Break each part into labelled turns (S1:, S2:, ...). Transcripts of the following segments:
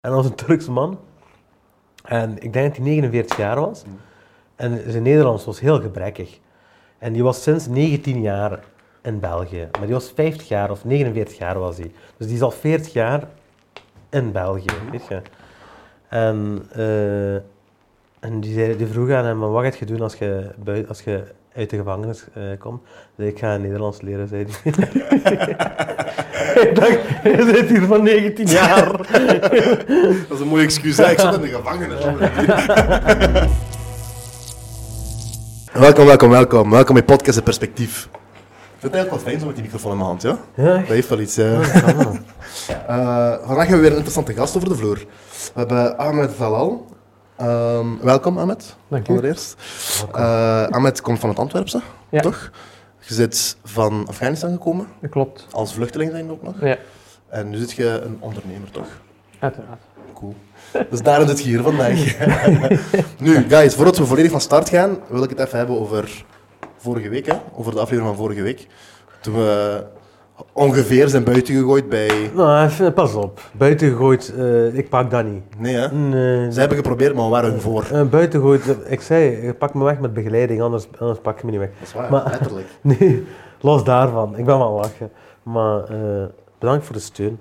S1: En dat was een Turkse man. En ik denk dat hij 49 jaar was. En zijn Nederlands was heel gebrekkig. En die was sinds 19 jaar in België. Maar die was 50 jaar of 49 jaar was hij. Dus die is al 40 jaar in België, weet je. En, eh, en die, zei, die vroeg aan hem, "Maar wat ga je doen als je, bui- als je uit de gevangenis eh, komt? Zei, ik ga Nederlands leren, zei hij. ik dacht, je zit hier van 19 jaar.
S2: Dat is een mooie excuus. hè. Ik zat in de gevangenis. welkom, welkom, welkom. Welkom bij Podcast in Perspectief. Ik vind het eigenlijk wel fijn zo met die microfoon in mijn hand, ja?
S1: Ja,
S2: Dat heeft wel iets, hè. Eh, vandaag hebben we weer een interessante gast over de vloer. We hebben Ahmed Zalal. Ehm, welkom, Ahmed.
S3: Dank u.
S2: Allereerst. Eh, Ahmed komt van het Antwerpse,
S3: Ja.
S2: toch? Je zit van Afghanistan gekomen,
S3: Dat klopt.
S2: als vluchteling zijn ook nog.
S3: Ja,
S2: En nu zit je een ondernemer, toch?
S3: uiteraard.
S2: Cool. Dus daarom zit je hier vandaag. nu, guys, voordat we volledig van start gaan, wil ik het even hebben over vorige week, hè? over de aflevering van vorige week. Toen we ongeveer zijn buiten gegooid bij...
S1: Nou, even- pas op. Buiten gegooid, eh, ik pak dat niet.
S2: Nee, hè?
S1: Nee.
S2: Ze hebben geprobeerd, maar we waren hun voor.
S1: Eh, buiten gegooid, eh, ik zei, eh, pak me weg met begeleiding, anders, anders pak je me niet weg.
S2: Dat is waar,
S1: Maar-
S2: letterlijk.
S1: Nee, los daarvan. Ik ben wel lachen. Maar eh, bedankt voor de steun.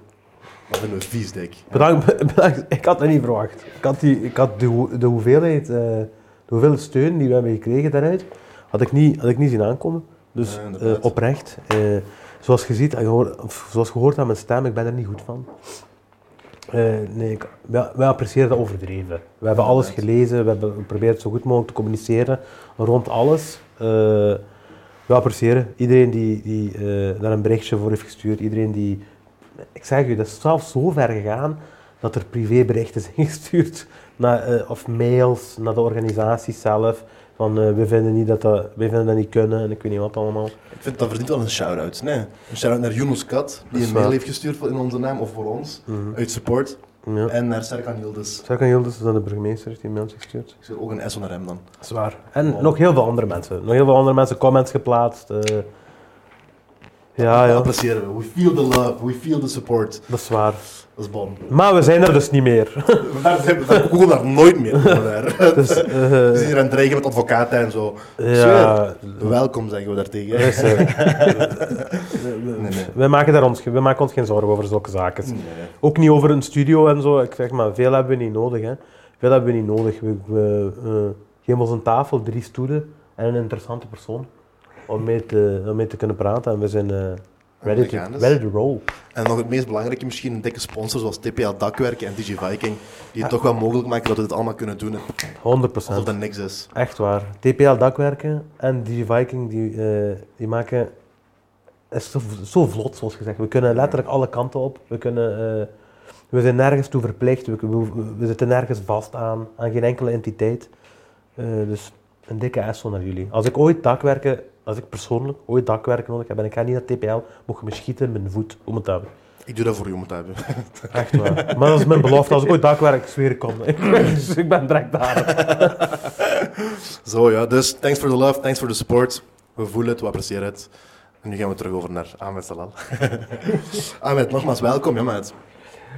S2: Dat vinden we vies, dik.
S1: Bedankt, bedankt. Ik had dat niet verwacht. Ik had, die, ik had de, hoe- de hoeveelheid, eh, de hoeveelheid steun die we hebben gekregen daaruit, had ik niet, had ik niet zien aankomen. Dus
S2: Nee, inderdaad.
S1: eh, oprecht. eh, zoals je ziet, en gehoor- of zoals gehoord aan mijn stem, ik ben er niet goed van. Eh, nee, ik, wij, wij appreciëren dat overdreven. We hebben alles gelezen, we hebben geprobeerd zo goed mogelijk te communiceren rond alles. Eh we appreciëren iedereen die, die eh, daar een berichtje voor heeft gestuurd. Iedereen die. Ik zeg u, dat is zelfs zo ver gegaan dat er privéberichten zijn gestuurd. Naar, eh, of mails naar de organisatie zelf. Van eh, we vinden niet dat dat, we vinden dat niet kunnen en ik weet niet wat allemaal.
S2: Ik vind dat verdient wel een shout-out. Nee, een shout-out naar Yunus Kat,
S1: Dat
S2: die
S1: is
S2: een
S1: waar.
S2: mail heeft gestuurd voor- in onze naam, of voor ons, uit support.
S1: Mhm. Ja.
S2: En naar Serkan Yildiz.
S1: Zou ik aan Hildes, dat is aan de burgemeester, heeft die mails gestuurd.
S2: Ik zeg ook een S onder hem dan.
S1: Zwaar. En nog heel veel andere mensen. Nog heel veel andere mensen, comments geplaatst. eh. ja,
S2: Dat
S1: ja,
S2: appreciëren we. We feel the love, we feel the support.
S1: dat is waar.
S2: Dat is bon.
S1: Maar we zijn er dus niet meer.
S2: Daar zijn we daar komen we daar nooit meer over. daar.
S1: Dus, eh,
S2: We zijn hier aan het dreigen met advocaten en zo.
S1: ja,
S2: Welkom zeggen we daartegen.
S1: Dus, eh,
S2: Nee, nee.
S1: Wij maken, daar ons, wij maken ons geen zorgen over zulke zaken.
S2: Nee.
S1: Ook niet over een studio en zo. Ik zeg maar, veel hebben we niet nodig. Hè. Veel hebben we niet nodig. We, we, eh, geven ons een tafel, drie stoelen en een interessante persoon om mee te, om mee te kunnen praten. En we zijn eh, ready,
S2: we
S1: to,
S2: gaan dus.
S1: ready to roll.
S2: En nog het meest belangrijke, misschien een dikke sponsor zoals TPA Dakwerken en Digi Viking, die het toch wel mogelijk maken dat we dit allemaal kunnen doen.
S1: 100
S2: Alsof dat niks is.
S1: Echt waar. TPL dakwerken en die Viking die, eh, die maken. Is zo, zo vlot, zoals gezegd. We kunnen letterlijk alle kanten op. We, kunnen, eh, we zijn nergens toe verplicht. We, we, we zitten nergens vast aan, aan geen enkele entiteit. Eh, dus een dikke SO naar jullie. Als ik ooit dakwerken, als ik persoonlijk ooit dakwerken nodig heb en ik ga niet naar TPL, mocht je me schieten in mijn voet om het te hebben.
S2: Ik doe dat voor u om het te hebben.
S1: Echt waar. Maar dat is mijn belofte. Als ik ooit dakwerk, zweer ik om. Dus ik ben direct daar.
S2: Zo ja, dus thanks for the love, thanks for the support. We voelen het, we appreciëren het. En nu gaan we terug over naar Ahmed Salal. Ahmed, nogmaals welkom. Ja, maat.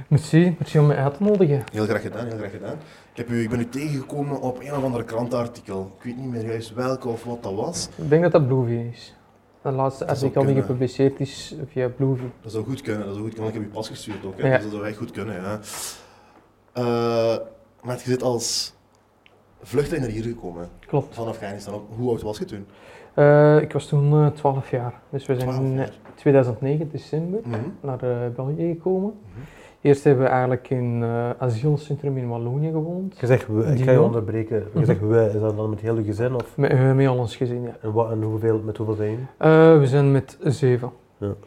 S3: Merci, merci om mij uit te nodigen.
S2: Heel graag gedaan, heel graag gedaan. Ik, heb u, ik ben u tegengekomen op een of andere krantenartikel. Ik weet niet meer juist welke of wat dat was.
S3: Ik denk dat dat Blueview is. De laatste
S2: Dat zou
S3: artikel die
S2: kunnen.
S3: gepubliceerd is via Blueview.
S2: Dat zou goed kunnen, dat zou goed kunnen. want Ik heb u pas gestuurd ook, hè?
S3: Ja.
S2: dus dat zou echt goed kunnen. Ja. Eh, maar je zit als vluchteling naar hier gekomen,
S3: Klopt.
S2: van Afghanistan. ook. Hoe oud was je toen?
S3: Eh, ik was toen eh, 12 jaar. Dus we zijn
S2: 12
S3: in
S2: jaar.
S3: eh, 2009, december,
S2: Mhm.
S3: naar eh, België gekomen.
S1: Mhm.
S3: Eerst hebben we eigenlijk in eh asielcentrum in Wallonië gewoond.
S1: Je zegt we, ik ga je
S3: Dion?
S1: onderbreken. Je zegt we, is dat dan met heel je gezin of
S3: Met, eh, met al ons gezin, ja.
S1: en wat, en hoeveel, met hoeveel zijn jullie?
S3: Eh, we zijn met zeven.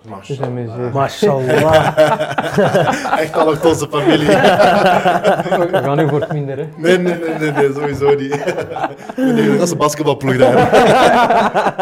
S2: Maar
S3: We zijn met zeven.
S1: Mashallah.
S2: Echt al onze familie.
S3: We gaan nu voor het minder, hè.
S2: Nee, nee, nee, nee, nee, sowieso niet. Nee, nee, dat is een basketbalploeg daar.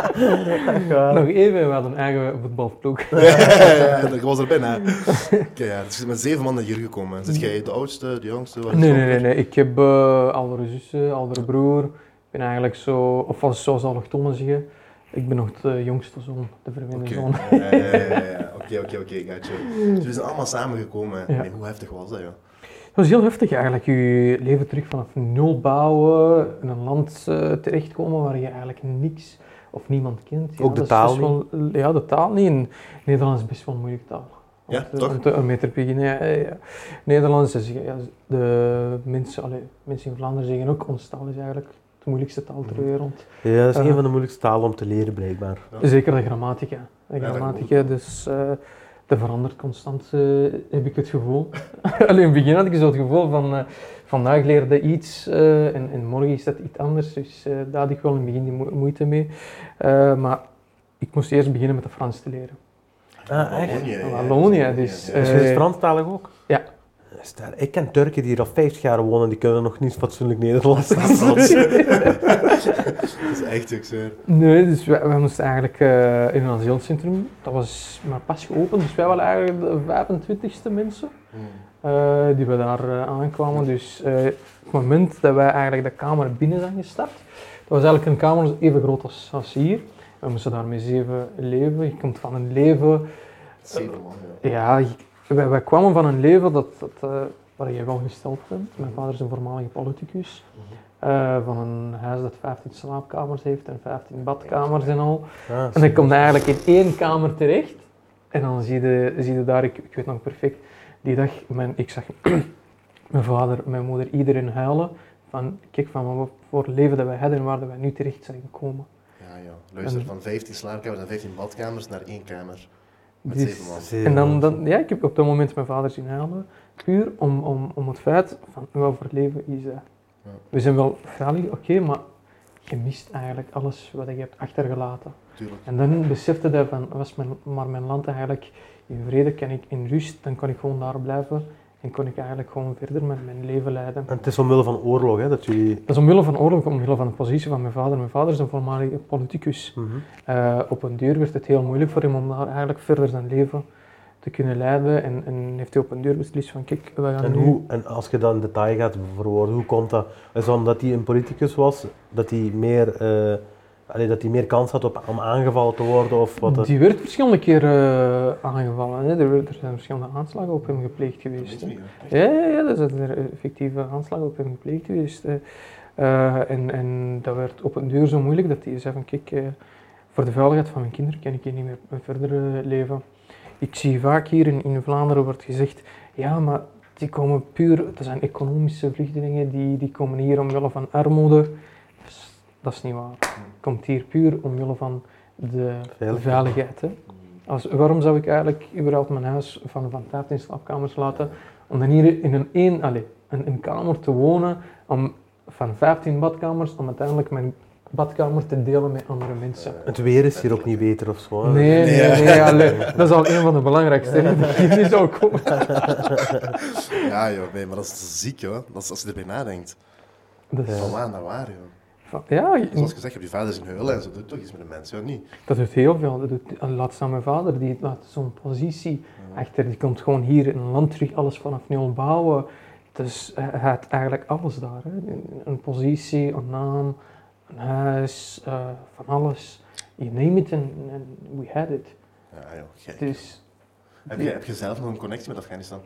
S3: Nog even, we hadden een eigen voetbalploeg.
S2: Ja, dat was er bijna. Oké, ja, dus je bent met zeven man naar hier gekomen. Zit jij de oudste, de jongste? Waar is
S3: Nee,
S2: het
S3: nee, nee,
S2: over?
S3: nee. Ik heb eh oudere zussen, oudere broer. Ik ben eigenlijk zo, of was zoals allochtonen zeggen, ik ben nog de jongste zoon, de verwende
S2: Oké,
S3: zoon.
S2: ja, ja, ja, ja, ja. Oké, oké, oké, gotcha. Dus we zijn allemaal samengekomen.
S3: Ja.
S2: Nee, hoe heftig was dat, joh?
S3: Het was heel heftig eigenlijk. Je leven terug vanaf nul bouwen, in een land eh, terechtkomen waar je eigenlijk niks of niemand kent.
S1: Ook de
S3: dat is best
S1: taal
S3: wel- ja, de taal niet. En Nederlands is best wel een moeilijke taal. Om
S2: Ja,
S3: te-
S2: toch?
S3: Om, te, om mee te beginnen. Ja, ja, ja. Nederlands is, ja, de mensen, allee, mensen in Vlaanderen zeggen ook, onze taal is eigenlijk de moeilijkste taal ter wereld.
S1: Ja, dat is
S3: Eh.
S1: een van de moeilijkste talen om te leren, blijkbaar.
S2: Ja.
S3: Zeker de grammatica. De
S2: dat
S3: grammatica, dus eh dat verandert constant, eh, heb ik het gevoel. Alleen in het begin had ik zo het gevoel van eh, vandaag leerde iets eh, en, en morgen is dat iets anders. Dus eh, daar had ik wel in het begin die moe- moeite mee. Eh, maar ik moest eerst beginnen met het Frans te leren.
S1: Ah, echt?
S2: Wallonië, eh, ja.
S3: Wallonië, dus,
S2: Ja,
S1: Is
S2: ja.
S1: het Franstalig ook?
S3: Ja.
S1: Is daar- Ik ken Turken die er al 50 jaar wonen en die kunnen nog niet fatsoenlijk Nederlands. Dat is
S2: Dat
S1: Frans.
S2: is echt succes.
S3: Nee, dus wij, wij moesten eigenlijk eh, in een asielcentrum. Dat was maar pas geopend, dus wij waren eigenlijk de 25ste mensen.
S2: Hmm.
S3: eh, die we daar eh, aankwamen. Dus eh, op het moment dat wij eigenlijk de kamer binnen zijn gestapt, dat was eigenlijk een kamer even groot als, als hier. We moesten daar met zeven leven. Je komt van een leven,
S2: Zeven man, ja.
S3: ja, je- wij, wij kwamen van een leven dat, dat, eh, waar jij wel gesteld bent. Mijn vader is een voormalige politicus. eh, van een huis dat 15 slaapkamers heeft en 15 badkamers en al.
S1: Ah,
S3: En dan kom je eigenlijk in één kamer terecht. En dan zie je, zie je daar, ik, ik weet nog perfect, die dag, mijn, ik zag mijn vader, mijn moeder, iedereen huilen. Van, kijk, van wat voor leven dat wij hadden en waar dat wij nu terecht zijn gekomen.
S2: Ja, ja. Luister,
S3: En-
S2: van 15 slaapkamers en 15 badkamers naar één kamer. Met
S3: Dus-
S2: zeven man.
S1: zeer
S3: en dan,
S1: mooi.
S3: dan, ja, ik heb op dat moment mijn vader zien huilen. Puur om, om, om het feit van, wat voor leven is dat?
S2: Ja.
S3: We zijn wel veilig, oké, maar je mist eigenlijk alles wat je hebt achtergelaten.
S2: Tuurlijk.
S3: En dan besefte dat van, was mijn, maar mijn land eigenlijk in vrede, kan ik in rust, dan kon ik gewoon daar blijven en kon ik eigenlijk gewoon verder met mijn leven leiden.
S1: En het is omwille van oorlog hè, dat jullie.
S3: Dat is omwille van oorlog, omwille van de positie van mijn vader. Mijn vader is een voormalige politicus.
S1: Mhm.
S3: Eh, op een duur werd het heel moeilijk voor hem om daar eigenlijk verder zijn leven te kunnen leiden. En, en heeft hij op een duur beslist van, kijk, we gaan
S1: En,
S3: nu...
S1: hoe, en als je dan in detail gaat verwoorden, hoe komt dat? Is dat omdat hij een politicus was, dat hij meer, eh, allee, dat hij meer kans had op, om aangevallen te worden? Of wat, dat-
S3: Die werd verschillende keer eh, aangevallen. Hè? Er, werd- er zijn verschillende aanslagen op hem gepleegd
S2: Dat weet
S3: geweest. hè.
S2: je niet, hè.
S3: Ja, ja, ja, er zijn er effectieve aanslagen op hem gepleegd geweest. eh. Eh, en, en dat werd op een duur zo moeilijk dat hij zei van kijk, eh, voor de veiligheid van mijn kinderen kan ik hier niet meer verder eh, leven. Ik zie vaak hier in, in Vlaanderen wordt gezegd, ja maar die komen puur, dat zijn economische vluchtelingen, die, die komen hier omwille van armoede. Dat is, dat is niet waar. Komt hier puur omwille van de
S1: Veiligheid.
S3: veiligheid. Hè? Als, waarom zou ik eigenlijk überhaupt mijn huis van, van 15 slaapkamers laten? Om dan hier in een, één, allez, een, een kamer te wonen, om, van 15 badkamers, om uiteindelijk mijn badkamer te delen met andere mensen.
S1: Het weer is hier ook niet beter of zo. hè.
S3: Nee, nee,
S2: Ja.
S3: nee, allee, dat is al een van de belangrijkste redenen die er zou komen.
S2: Eh, Ja, joh, nee, maar dat is ziek, joh. Dat is, als je erbij nadenkt.
S3: Dat is-
S2: Van waar naar waar, joh.
S3: van- ja,
S2: En Zoals gezegd, je hebt je vader zijn heulen en zo doet toch iets met een mens, joh. Niet.
S3: dat doet heel veel. Dat doet, laat staan mijn vader, die laat zo'n positie achter. Die komt gewoon hier in een land terug alles vanaf nul bouwen. Dus eh, hij had eigenlijk alles daar. Hè. Een, een positie, een naam, een huis, eh, van alles. You name it and, and we had it.
S2: Ja, joh, gek.
S3: Dus
S2: Heb, je, heb je zelf nog een connectie met Afghanistan?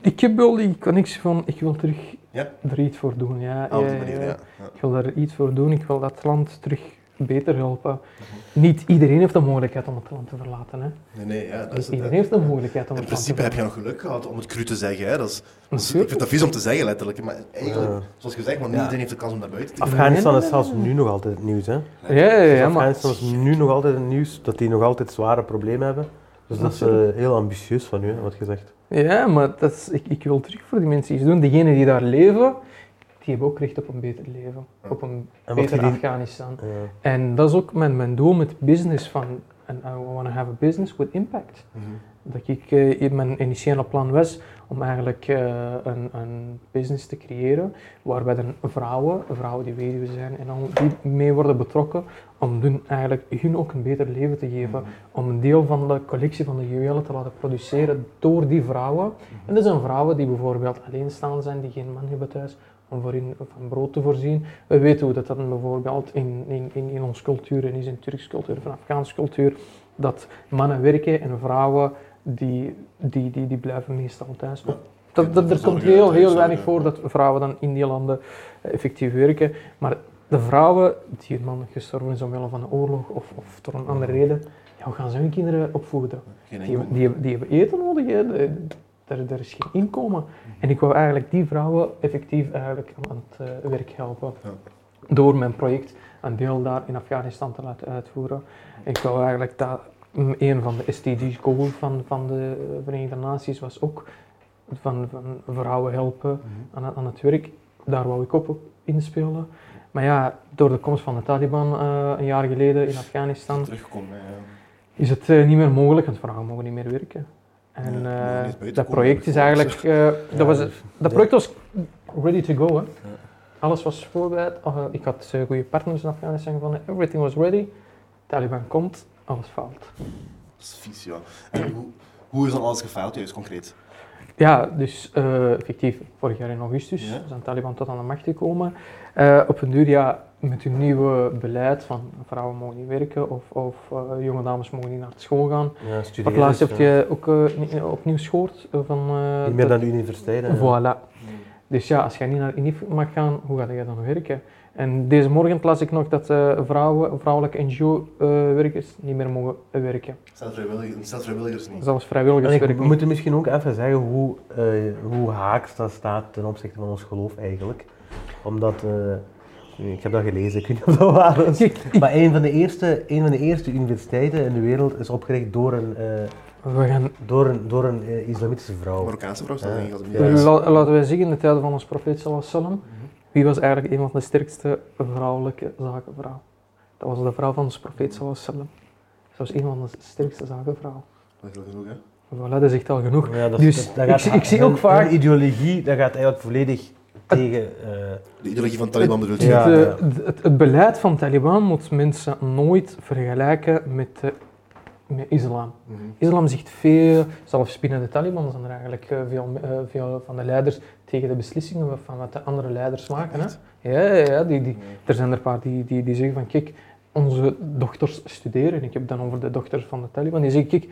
S3: Ik heb wel die connectie van, ik wil terug
S2: Ja?
S3: er iets voor doen. Ja,
S2: Ah, op
S3: ja,
S2: die manier,
S3: ja.
S2: ja. ja.
S3: Ik wil daar iets voor doen, ik wil dat land terug beter helpen.
S2: Mhm.
S3: Niet iedereen heeft de mogelijkheid om het land te verlaten. Hè.
S2: Nee, nee, ja, dat is
S3: Niet
S2: het.
S3: iedereen
S2: hè.
S3: heeft de mogelijkheid om
S2: In
S3: het land te
S2: principe heb je
S3: verlaten.
S2: nog geluk gehad om het cru te zeggen. Hè. Dat is, dat is- ik
S3: Natuurlijk.
S2: vind dat vies om te zeggen, letterlijk. Maar eigenlijk,
S1: Ja.
S2: zoals gezegd, want
S1: Ja.
S2: iedereen heeft de kans om naar buiten te
S1: Afghanistan
S3: Nee,
S1: is
S3: nee,
S1: zelfs
S3: nee, nee.
S1: nu nog altijd het nieuws. Hè?
S3: Ja, ja, ja,
S1: Dus
S3: maar
S1: Afghanistan is nu nog altijd het nieuws dat die nog altijd zware problemen hebben. Dus dat is eh, heel ambitieus van u, hè, wat gezegd.
S3: Ja, maar dat is, ik, ik wil terug voor die mensen iets doen. Degenen die daar leven, die hebben ook recht op een beter leven. Op een
S1: En wat eh,
S3: beter
S1: je die-
S3: Afghanistan.
S1: Ja.
S3: En dat is ook mijn, mijn doel met business. Van, and I want to have a business with impact.
S2: Mhm.
S3: Dat ik, eh, in mijn initiële plan was om eigenlijk eh, een, een business te creëren waarbij dan vrouwen, vrouwen die weduwe zijn en al, die mee worden betrokken om hun, eigenlijk hun ook een beter leven te geven. Om een deel van de collectie van de juwelen te laten produceren door die vrouwen. En dat zijn vrouwen die bijvoorbeeld alleenstaan zijn, die geen man hebben thuis om voor hun van brood te voorzien. We weten hoe dat dan bijvoorbeeld in, in, in, in onze cultuur en is in Turks cultuur, van Afghaanse cultuur, dat mannen werken en vrouwen die, die, die, die blijven meestal thuis. Dat, dat, er komt heel, heel weinig voor dat vrouwen dan in die landen eh, effectief werken. Maar de vrouwen die een man gestorven is omwille van de oorlog of, of door een andere reden, ja, hoe gaan ze hun kinderen opvoeden?
S2: Geen
S3: Die,
S2: enkel.
S3: hebben- die, hebben- die hebben eten nodig, hè. De- daar, daar is geen inkomen. En ik wou eigenlijk die vrouwen effectief eigenlijk aan- aan het eh, werk helpen.
S2: Ja.
S3: Door mijn project een deel daar in Afghanistan te laten uitvoeren. En ik wou eigenlijk dat mm, een van de SDG's goals van, van de eh, Verenigde Naties was ook van, van vrouwen helpen
S2: Mhm.
S3: aan, het- aan het werk. Daar wou ik op op inspelen. Maar ja, door de komst van de Taliban eh, een jaar geleden in Afghanistan
S2: Teruggekomen, ja.
S3: is het eh, niet meer mogelijk, want vrouwen mogen niet meer werken. En
S2: Ja,
S3: eh,
S2: mogen niet buiten
S3: dat
S2: komen,
S3: project is eigenlijk, eh,
S1: Ja,
S3: dat, was,
S1: dus-
S3: dat
S1: ja.
S3: project was ready to go. Hè. Alles was voorbereid, Oh, eh, ik had eh, goede partners in Afghanistan gevonden, eh, everything was ready. Taliban komt, alles faalt.
S2: Dat is vies, ja. En hoe, hoe is dan alles gefaald, juist concreet?
S3: Ja, dus eh, effectief, vorig jaar in augustus
S2: Ja.
S3: zijn Taliban tot aan de macht gekomen. Eh, op een duur, ja, met hun nieuwe beleid van vrouwen mogen niet werken of, of eh, jonge dames mogen niet naar school gaan.
S1: Ja, studeren.
S3: Wat laatst
S1: is,
S3: heb
S1: ja.
S3: je ook eh, ni- opnieuw gehoord eh, van... eh,
S1: Niet meer
S3: dat-
S1: dan de universiteit. hè.
S3: Voilà. Dus ja, als jij niet naar INIF mag gaan, hoe ga jij dan werken? En deze morgen las ik nog dat eh, vrouwen, vrouwelijke NGO-werkers eh, niet meer mogen werken.
S2: Staat vrijwilligers, staat vrijwilligers niet?
S3: Zelfs
S1: En ik,
S3: vrijwilligerswerk.
S1: we moeten misschien ook even zeggen hoe, eh, hoe haaks dat staat ten opzichte van ons geloof eigenlijk. Omdat, eh, ik heb dat gelezen, ik weet niet of dat waar is. Maar een van, de eerste, een van de eerste universiteiten in de wereld is opgericht door een, eh,
S3: We gaan,
S1: door een, door een eh, islamitische vrouw.
S2: Marokkaanse vrouw staat
S1: Ja.
S2: denk ik als een
S1: Ja.
S2: ja.
S3: la- laten wij zeggen, in de tijden van ons profeet sallallahu alaihi wasallam, wie was eigenlijk een van de sterkste vrouwelijke zakenvrouw? Dat was de vrouw van ons profeet sallallahu alaihi wasallam. Ze was een van de sterkste zakenvrouwen.
S2: Dat is wel genoeg, hè?
S3: Voilà, dat is echt al genoeg.
S1: Ja, dat,
S3: Dus
S1: dat- dat
S3: ik zie- ik zie ook
S1: hun-
S3: vaak-
S1: hun ideologie, dat gaat eigenlijk volledig tegen... eh,
S2: De ideologie van Taliban bedoelt
S1: Ja.
S2: je?
S3: het, eh, het, het beleid van Taliban moet mensen nooit vergelijken met, eh, met islam.
S2: Mhm.
S3: Islam zegt veel, zelfs binnen de Taliban zijn er eigenlijk eh, veel, eh, veel van de leiders tegen de beslissingen van wat de andere leiders maken. Hè?
S2: Echt?
S3: Ja, ja, ja die, die, er zijn er een paar die, die, die zeggen van kijk, onze dochters studeren. Ik heb dan over de dochters van de Taliban. Die zeggen kijk,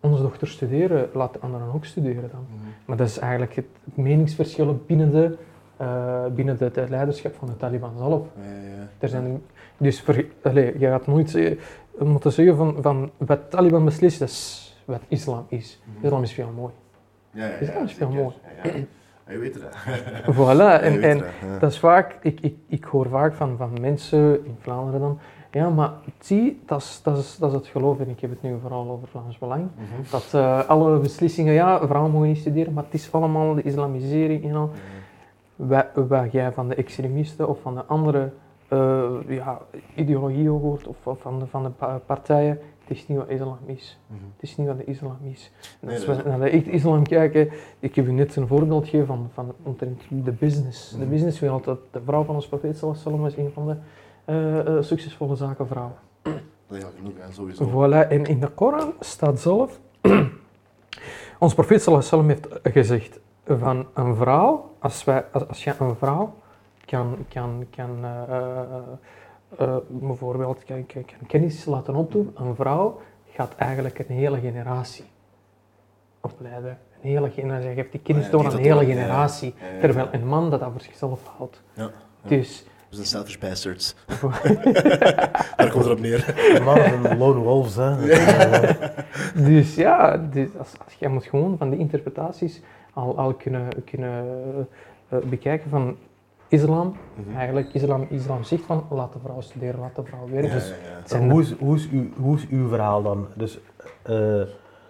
S3: onze dochters studeren, laat de anderen ook studeren dan.
S2: Mhm.
S3: Maar dat is eigenlijk het meningsverschil binnen, de, eh, binnen het eh, leiderschap van de Taliban zelf.
S2: Ja, ja, ja.
S3: Er zijn, dus ver, allee, je gaat nooit eh, moeten zeggen van, van wat Taliban beslist, dat is wat islam is.
S2: Mhm.
S3: Islam is veel mooi.
S2: Ja, ja,
S3: Is dat
S2: ja,
S3: is veel
S2: zeker.
S3: mooi.
S2: Ja, ja. Hij weet het, hè.
S3: Voilà,
S2: Hij
S3: en,
S2: weet
S3: en
S2: het, hè. Ja.
S3: dat is vaak, ik, ik, ik hoor vaak van, van mensen in Vlaanderen dan, ja, maar zie, dat is, dat, is, dat is het geloof, en ik heb het nu vooral over Vlaams Belang,
S2: Mhm.
S3: dat eh, alle beslissingen, ja, vrouwen mogen niet studeren, maar het is allemaal de islamisering en al. wat, wat jij van de extremisten of van de andere eh, ja, ideologieën hoort of, of van, de, van de pa- partijen, het is niet wat islam is.
S2: Mhm.
S3: Het is niet wat de islam is. En
S2: Nee,
S3: als
S2: dat
S3: we
S2: is-
S3: naar de echt islam kijken, ik heb u net een voorbeeld gegeven van, van omtrent de business. De
S2: Mhm.
S3: businesswereld, dat de vrouw van ons profeet sallallahu alaihi wasallam, is een van de eh, eh, succesvolle zakenvrouwen.
S2: Dat is al genoeg, hè, sowieso.
S3: Voilà, en in de Koran staat zelf, ons profeet sallallahu alaihi wasallam heeft gezegd van een vrouw, als, wij, als, als je een vrouw kan, kan, kan eh, eh, eh, bijvoorbeeld kan, kan, kan kennis laten opdoen, een vrouw gaat eigenlijk een hele generatie opleiden. Een hele generatie, je geeft die kennis
S2: Ja,
S3: door
S2: die
S3: aan een
S2: dat
S3: hele
S2: door, ja, ja.
S3: generatie,
S2: Ja, ja, ja.
S3: terwijl een man dat aan voor zichzelf houdt.
S2: Ja, ja.
S3: Dus,
S2: We zijn selfish bastards. Daar komt het op neer.
S1: de mannen zijn lone wolves, hè.
S3: Dus ja, dus als, als jij moet gewoon van die interpretaties al, al kunnen, kunnen eh, eh, bekijken van islam.
S2: Mhm.
S3: Eigenlijk, islam, islam zegt van laat de vrouw studeren, laat de vrouw werken.
S2: Ja,
S3: Dus
S2: ja, ja.
S3: het
S1: Eh,
S3: zijn
S1: hoe, is, hoe, is uw, hoe is uw verhaal dan? Dus, eh,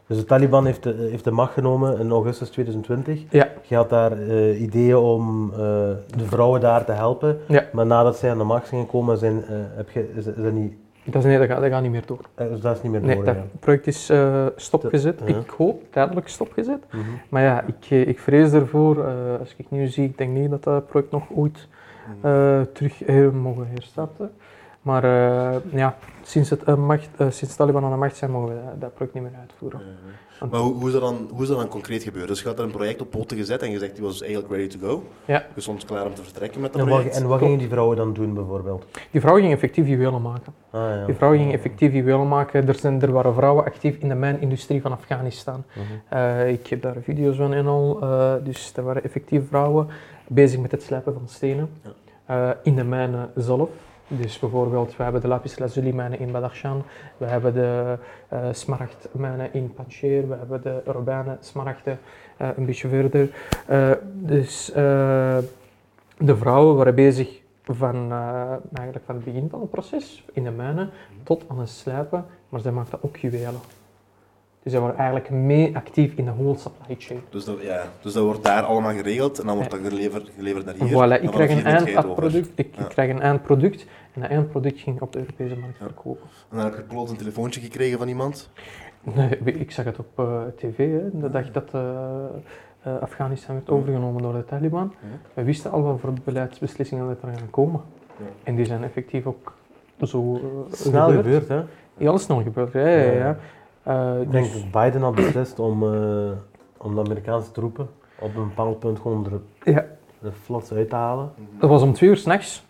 S1: dus de Taliban heeft de, heeft de macht genomen in augustus 2020.
S3: Ja.
S1: Je had daar eh, ideeën om eh, de vrouwen daar te helpen.
S3: Ja.
S1: Maar nadat zij aan de macht zijn gekomen, zijn, eh, heb je, is, is dat niet,
S3: dat, is, nee, dat, gaat, dat gaat niet meer door.
S1: eh, dus dat is niet meer
S3: Nee,
S1: door.
S3: dat
S1: ja.
S3: project is eh, stopgezet.
S1: Dat- ja.
S3: Ik hoop tijdelijk stopgezet.
S1: Mhm.
S3: Maar ja, ik, eh, ik vrees ervoor, eh, als
S2: Mhm.
S3: ik nu zie, ik denk niet dat dat project nog ooit eh, terug eh, mogen herstarten. Maar eh, ja, sinds, het, eh, macht, eh, sinds Taliban aan de macht zijn, mogen we dat, dat project niet meer uitvoeren.
S2: Maar hoe, hoe, is dat dan, hoe is dat dan concreet gebeurd? Dus je had er een project op poten gezet en je zegt die was eigenlijk ready to go.
S3: Ja.
S2: Je stond klaar om te vertrekken met dat
S1: En wat,
S2: project.
S1: en wat gingen die vrouwen dan doen bijvoorbeeld?
S3: Die vrouw ging effectief juwelen maken.
S1: Ah, ja.
S3: Die vrouw ging effectief juwelen maken. Er, zijn, er waren vrouwen actief in de mijnindustrie van Afghanistan.
S1: Mhm.
S3: Eh, ik heb daar video's van en al. eh, dus er waren effectief vrouwen bezig met het slijpen van stenen
S2: Ja.
S3: Eh, in de mijnen zelf. Dus bijvoorbeeld, we hebben de lapis lazuli mijnen in Badakhshan, we hebben de eh smaragdmijnen in Panjshir, we hebben de robijnen smaragden eh, een beetje verder. Eh, dus eh, de vrouwen waren bezig van, eh, eigenlijk van het begin van het proces in de mijnen tot aan het slijpen, maar zij maakten ook juwelen. Dus zij waren eigenlijk mee actief in de whole supply chain.
S2: Dus, dat, ja, dus dat wordt daar allemaal geregeld en dan wordt dat geleverd, geleverd naar hier.
S3: voilà,
S2: En
S3: ik
S2: vanaf
S3: krijg, een
S2: hier neemt jij het over.
S3: eindproduct, ik,
S2: Ja.
S3: ik krijg een eindproduct en dat eindproduct ging op de Europese markt
S2: Ja.
S3: verkopen.
S2: En dan heb je plots een telefoontje gekregen van iemand.
S3: Nee, ik zag het op eh, tv, hè, de dag dat eh, eh, Afghanistan werd overgenomen door de Taliban.
S2: Ja.
S3: We wisten al wat voor beleidsbeslissingen dat er gaan komen.
S2: Ja.
S3: En die zijn effectief ook zo eh,
S1: Snel gebeurd, hè?
S3: Heel snel gebeurd, ja. ja,
S1: Ja.
S3: ja. Eh,
S1: Ik denk
S3: dus-
S1: dat Biden had beslist om, eh, om de Amerikaanse troepen op een bepaald punt gewoon er
S3: Ja.
S1: de flats uit te halen.
S3: Dat was om twee uur s'nachts.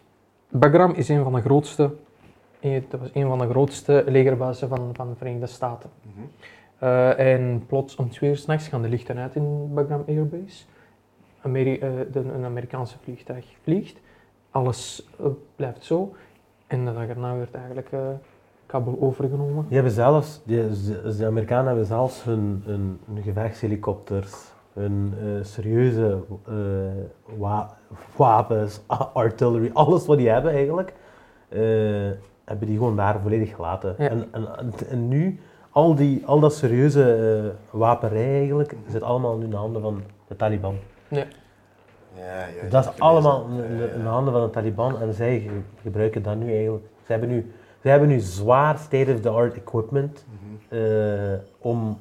S3: Bagram is een van de grootste, eh, dat was een van de grootste legerbazen van, van de Verenigde Staten.
S2: Mhm.
S3: Eh, en plots om twee uur s'nachts gaan de lichten uit in Bagram Airbase. Ameri- eh, de, een Amerikaanse vliegtuig vliegt. Alles eh, blijft zo. En de dag erna werd eigenlijk eh, Kabul overgenomen.
S1: Die hebben zelfs, die, ze- de Amerikanen hebben zelfs hun, hun, hun gevechtshelikopters, hun eh, serieuze eh, wa- wapens, a- artillery, alles wat die hebben eigenlijk, eh, hebben die gewoon daar volledig gelaten.
S3: Ja.
S1: En, en, en nu, al, die, al dat serieuze eh, wapenrij eigenlijk, zit allemaal nu in de handen van de Taliban.
S2: Ja, ja,
S1: Dat
S2: ik heb
S1: is allemaal
S2: gelezen.
S1: in
S2: Ja,
S1: de,
S2: ja.
S1: in de handen van de Taliban en zij ge- gebruiken dat nu eigenlijk. Zij hebben nu, zij hebben nu zwaar state-of-the-art equipment
S2: Mhm.
S1: eh, om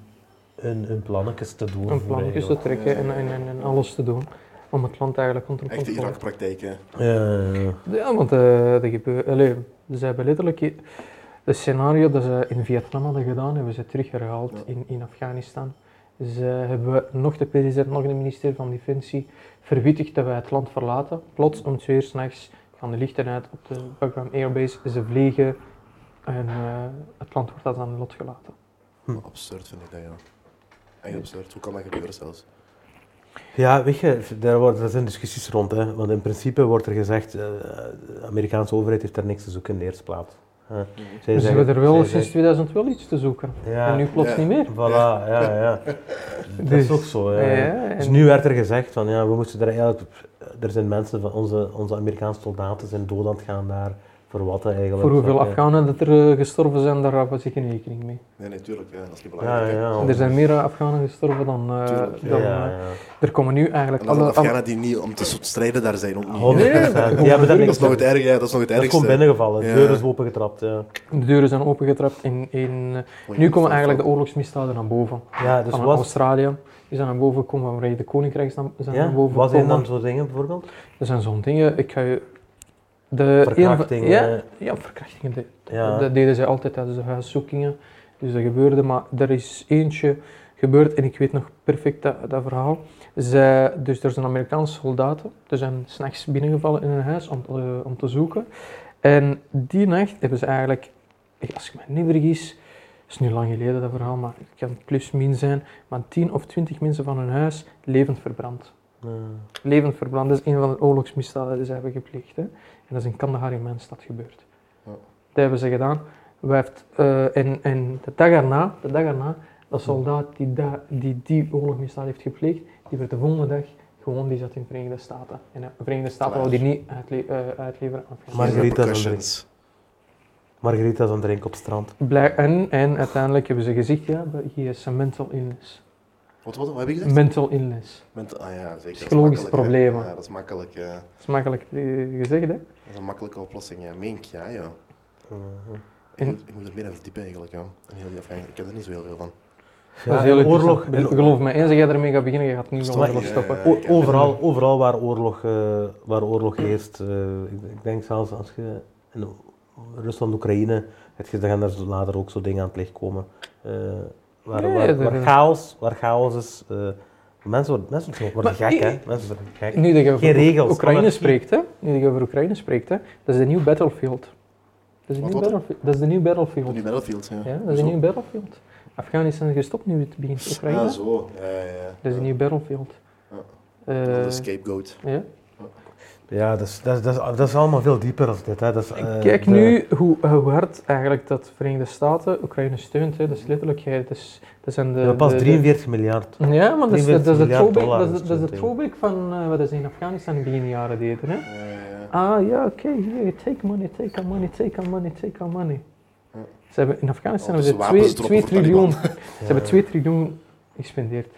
S1: hun, hun plannetjes te doen.
S3: Een plannetjes te trekken en, en, en, en alles te doen. Om het land eigenlijk onder
S2: Echte
S3: controle
S2: Irak-praktijken.
S3: Ja, want eh dat gebe- allee, ze hebben letterlijk i- het scenario dat ze in Vietnam hadden gedaan, hebben ze terugherhaald
S2: Ja.
S3: in, in Afghanistan. Ze hebben nog de president, nog de minister van Defensie verwittigd dat wij het land verlaten. Plots om twee uur s'nachts gaan de lichten uit op de Bagram Airbase, ze vliegen en eh, het land wordt dat aan lot gelaten.
S2: Absurd vind ik dat, ja. Echt absurd. Hoe kan dat gebeuren zelfs?
S1: Ja, weet je, daar, wordt, daar zijn discussies rond. Hè. Want in principe wordt er gezegd, eh, de Amerikaanse overheid heeft daar niks te zoeken in de eerste plaats. Hè. Zij
S3: Dus ze
S1: zeggen-
S3: hebben er wel
S1: zij
S3: sinds
S1: zeggen-
S3: 2000 wel iets te zoeken.
S1: Ja,
S3: En nu plots
S2: Ja.
S3: niet meer.
S1: voilà, ja, ja. Dat
S3: Dus-
S1: is ook zo.
S3: Ja,
S1: ja.
S3: ja,
S1: Dus
S3: en-
S1: nu werd er gezegd van ja, we moesten er eigenlijk. Er zijn mensen van onze, onze Amerikaanse soldaten zijn dood aan het gaan daar. Voor wat eigenlijk?
S3: Voor hoeveel
S1: Ja.
S3: Afghanen dat er eh, gestorven zijn, daar houden we zich geen rekening mee.
S2: Nee, natuurlijk. ja, dat is niet
S1: Ja,
S2: belangrijk. hè.
S1: ja.
S3: En er zijn meer eh, Afghanen gestorven dan... eh,
S2: Oh. Tuurlijk,
S1: Ja,
S3: dan
S1: ja.
S3: eh, Er komen nu eigenlijk
S2: En dat zijn
S3: alle... alle-
S2: Afghanen die niet om te strijden daar zijn. Ook niet.
S1: Honderd procent. Die hebben daar
S2: Dat
S1: niks
S2: is nog het
S1: aan.
S2: ergste. Ja, dat is nog het
S1: Dat is
S2: ergste.
S1: gewoon binnengevallen.
S2: Ja.
S1: De deur is opengetrapt. Ja,
S3: De deuren zijn opengetrapt en, en
S2: Gewoon
S3: nu
S2: niet
S3: komen
S2: van-
S3: eigenlijk de oorlogsmisdaden naar boven.
S1: ja dus
S3: van
S1: was,
S3: Australië is aan naar boven gekomen, van Verenigde Koninkrijk zijn zijn
S1: ja,
S3: naar boven
S1: was een
S3: gekomen.
S1: dan zo'n dingen bijvoorbeeld?
S3: Er zijn zo'n dingen, ik ga je... De
S1: Verkrachtingen,
S3: een van-
S1: eh.
S3: ja, ja, verkrachtingen. de-
S1: Ja.
S3: Dat deden zij altijd tijdens de huiszoekingen. Dus dat gebeurde, maar er is eentje gebeurd en ik weet nog perfect dat, dat verhaal. Zij, dus er zijn Amerikaanse soldaten, er zijn s'nachts binnengevallen in een huis om, te- om te zoeken. En die nacht hebben ze eigenlijk, als ik me niet vergis, het is nu lang geleden dat verhaal, maar het kan plus min zijn, maar 10 of 20 mensen van hun huis levend verbrand
S1: Ja.
S3: levend verbrand. Dat is een van de oorlogsmisdaden die ze hebben gepleegd. Hè. En dat is in Kandahar in mijn stad gebeurd.
S2: Ja.
S3: Dat hebben ze gedaan. Wij heeft, eh, en, en de dag erna, de dag erna, dat soldaat die da- die, die oorlogsmisdaad heeft gepleegd, die werd de volgende dag gewoon, die zat in de Verenigde Staten. En eh, de Verenigde Staten
S2: Klaar.
S3: wilden die niet uitle- eh, uitleveren aan Afghanistan.
S1: Margarita van
S2: Repercussions.
S1: Margarita is aan het drinken op het strand.
S3: Blij- en, en uiteindelijk hebben ze gezegd, ja, hier is een mental illness.
S2: Wat, wat, wat heb je gezegd?
S3: Mental illness.
S2: Ment- ah, ja, zeker. Dat is
S3: Psychologische
S2: makkelijk, hè.
S3: problemen.
S2: Ja, dat is makkelijk. eh,
S3: Dat is makkelijk eh, gezegd, hè.
S2: dat is een makkelijke oplossing. Ja. Mink, ja, ja.
S1: Ja,
S2: Ik
S3: En-
S2: moet, ik moet er meer aan verdiepen eigenlijk. Ja. En heel die Afghanen- Ik heb er niet zo heel veel van.
S3: dat is
S1: en
S3: heel
S1: oorlog,
S3: interessant.
S1: en-
S3: Geloof me, eens dat jij ermee gaat beginnen, je gaat niet
S2: Is
S3: meer
S2: het
S1: maar-
S3: willen
S2: Ja,
S3: stoppen.
S2: ja, ja.
S1: O-
S2: ik heb-
S1: overal, overal waar oorlog, eh, waar oorlog heerst. eh, ik, ik denk zelfs als je in Rusland, Oekraïne, het, ge- dan gaan er zo later ook zo dingen aan het licht komen. eh, waar,
S3: Ja,
S1: waar-
S3: ja,
S1: waar
S3: er-
S1: chaos, waar chaos is. eh, mensen worden, mensen worden
S3: Maar
S1: gek,
S3: i-
S1: hè? Mensen worden gek.
S3: Nu dat je over
S1: Geen regels,
S3: Oekraïne
S1: anarchie.
S3: spreekt, hè? Nu dat je over Oekraïne spreekt, hè? Dat is de nieuwe Battlefield. Dat is de
S2: Wat,
S3: nieuwe
S2: wat?
S3: Battlefield. Dat is de nieuwe Battlefield.
S2: Die Battlefield, ja.
S3: Ja, dat is
S2: Zo.
S3: een nieuwe Battlefield. Afghanistan is gestopt nu het begint. Oekraïne.
S2: Ja,
S3: dat
S2: zo. Ja, ja, ja.
S3: is een nieuwe Battlefield.
S2: Ja.
S3: Eh,
S2: Dat is de scapegoat.
S3: ja.
S1: Ja, dat is, dat, is, dat, is, dat is allemaal veel dieper dan dit. Hè. Dat is, eh,
S3: Kijk
S1: de-
S3: nu hoe, hoe hard eigenlijk dat de Verenigde Staten Oekraïne steunt. Hè. Dat is letterlijk, ja, dat is, dat zijn de...
S1: ja, pas
S3: de- de-
S1: 43 miljard.
S3: Ja, maar dat is,
S1: 43
S3: dat is de
S1: miljard
S3: throwback,
S1: dollar
S3: dat is,
S1: is
S3: dat is de
S1: het, ja.
S3: throwback van eh, wat ze in Afghanistan in begin jaren deden. Hè.
S2: Ja, ja, ja.
S3: Ah ja, oké, hier, take money, take our money, take our money, take our money.
S2: Ja.
S3: Ze hebben in Afghanistan
S2: Ondertussen
S3: hebben
S2: wapens
S3: ze 2
S2: droppen voor
S3: triljoen,
S2: Taliban.
S3: ze hebben 2 triljoen gespendeerd.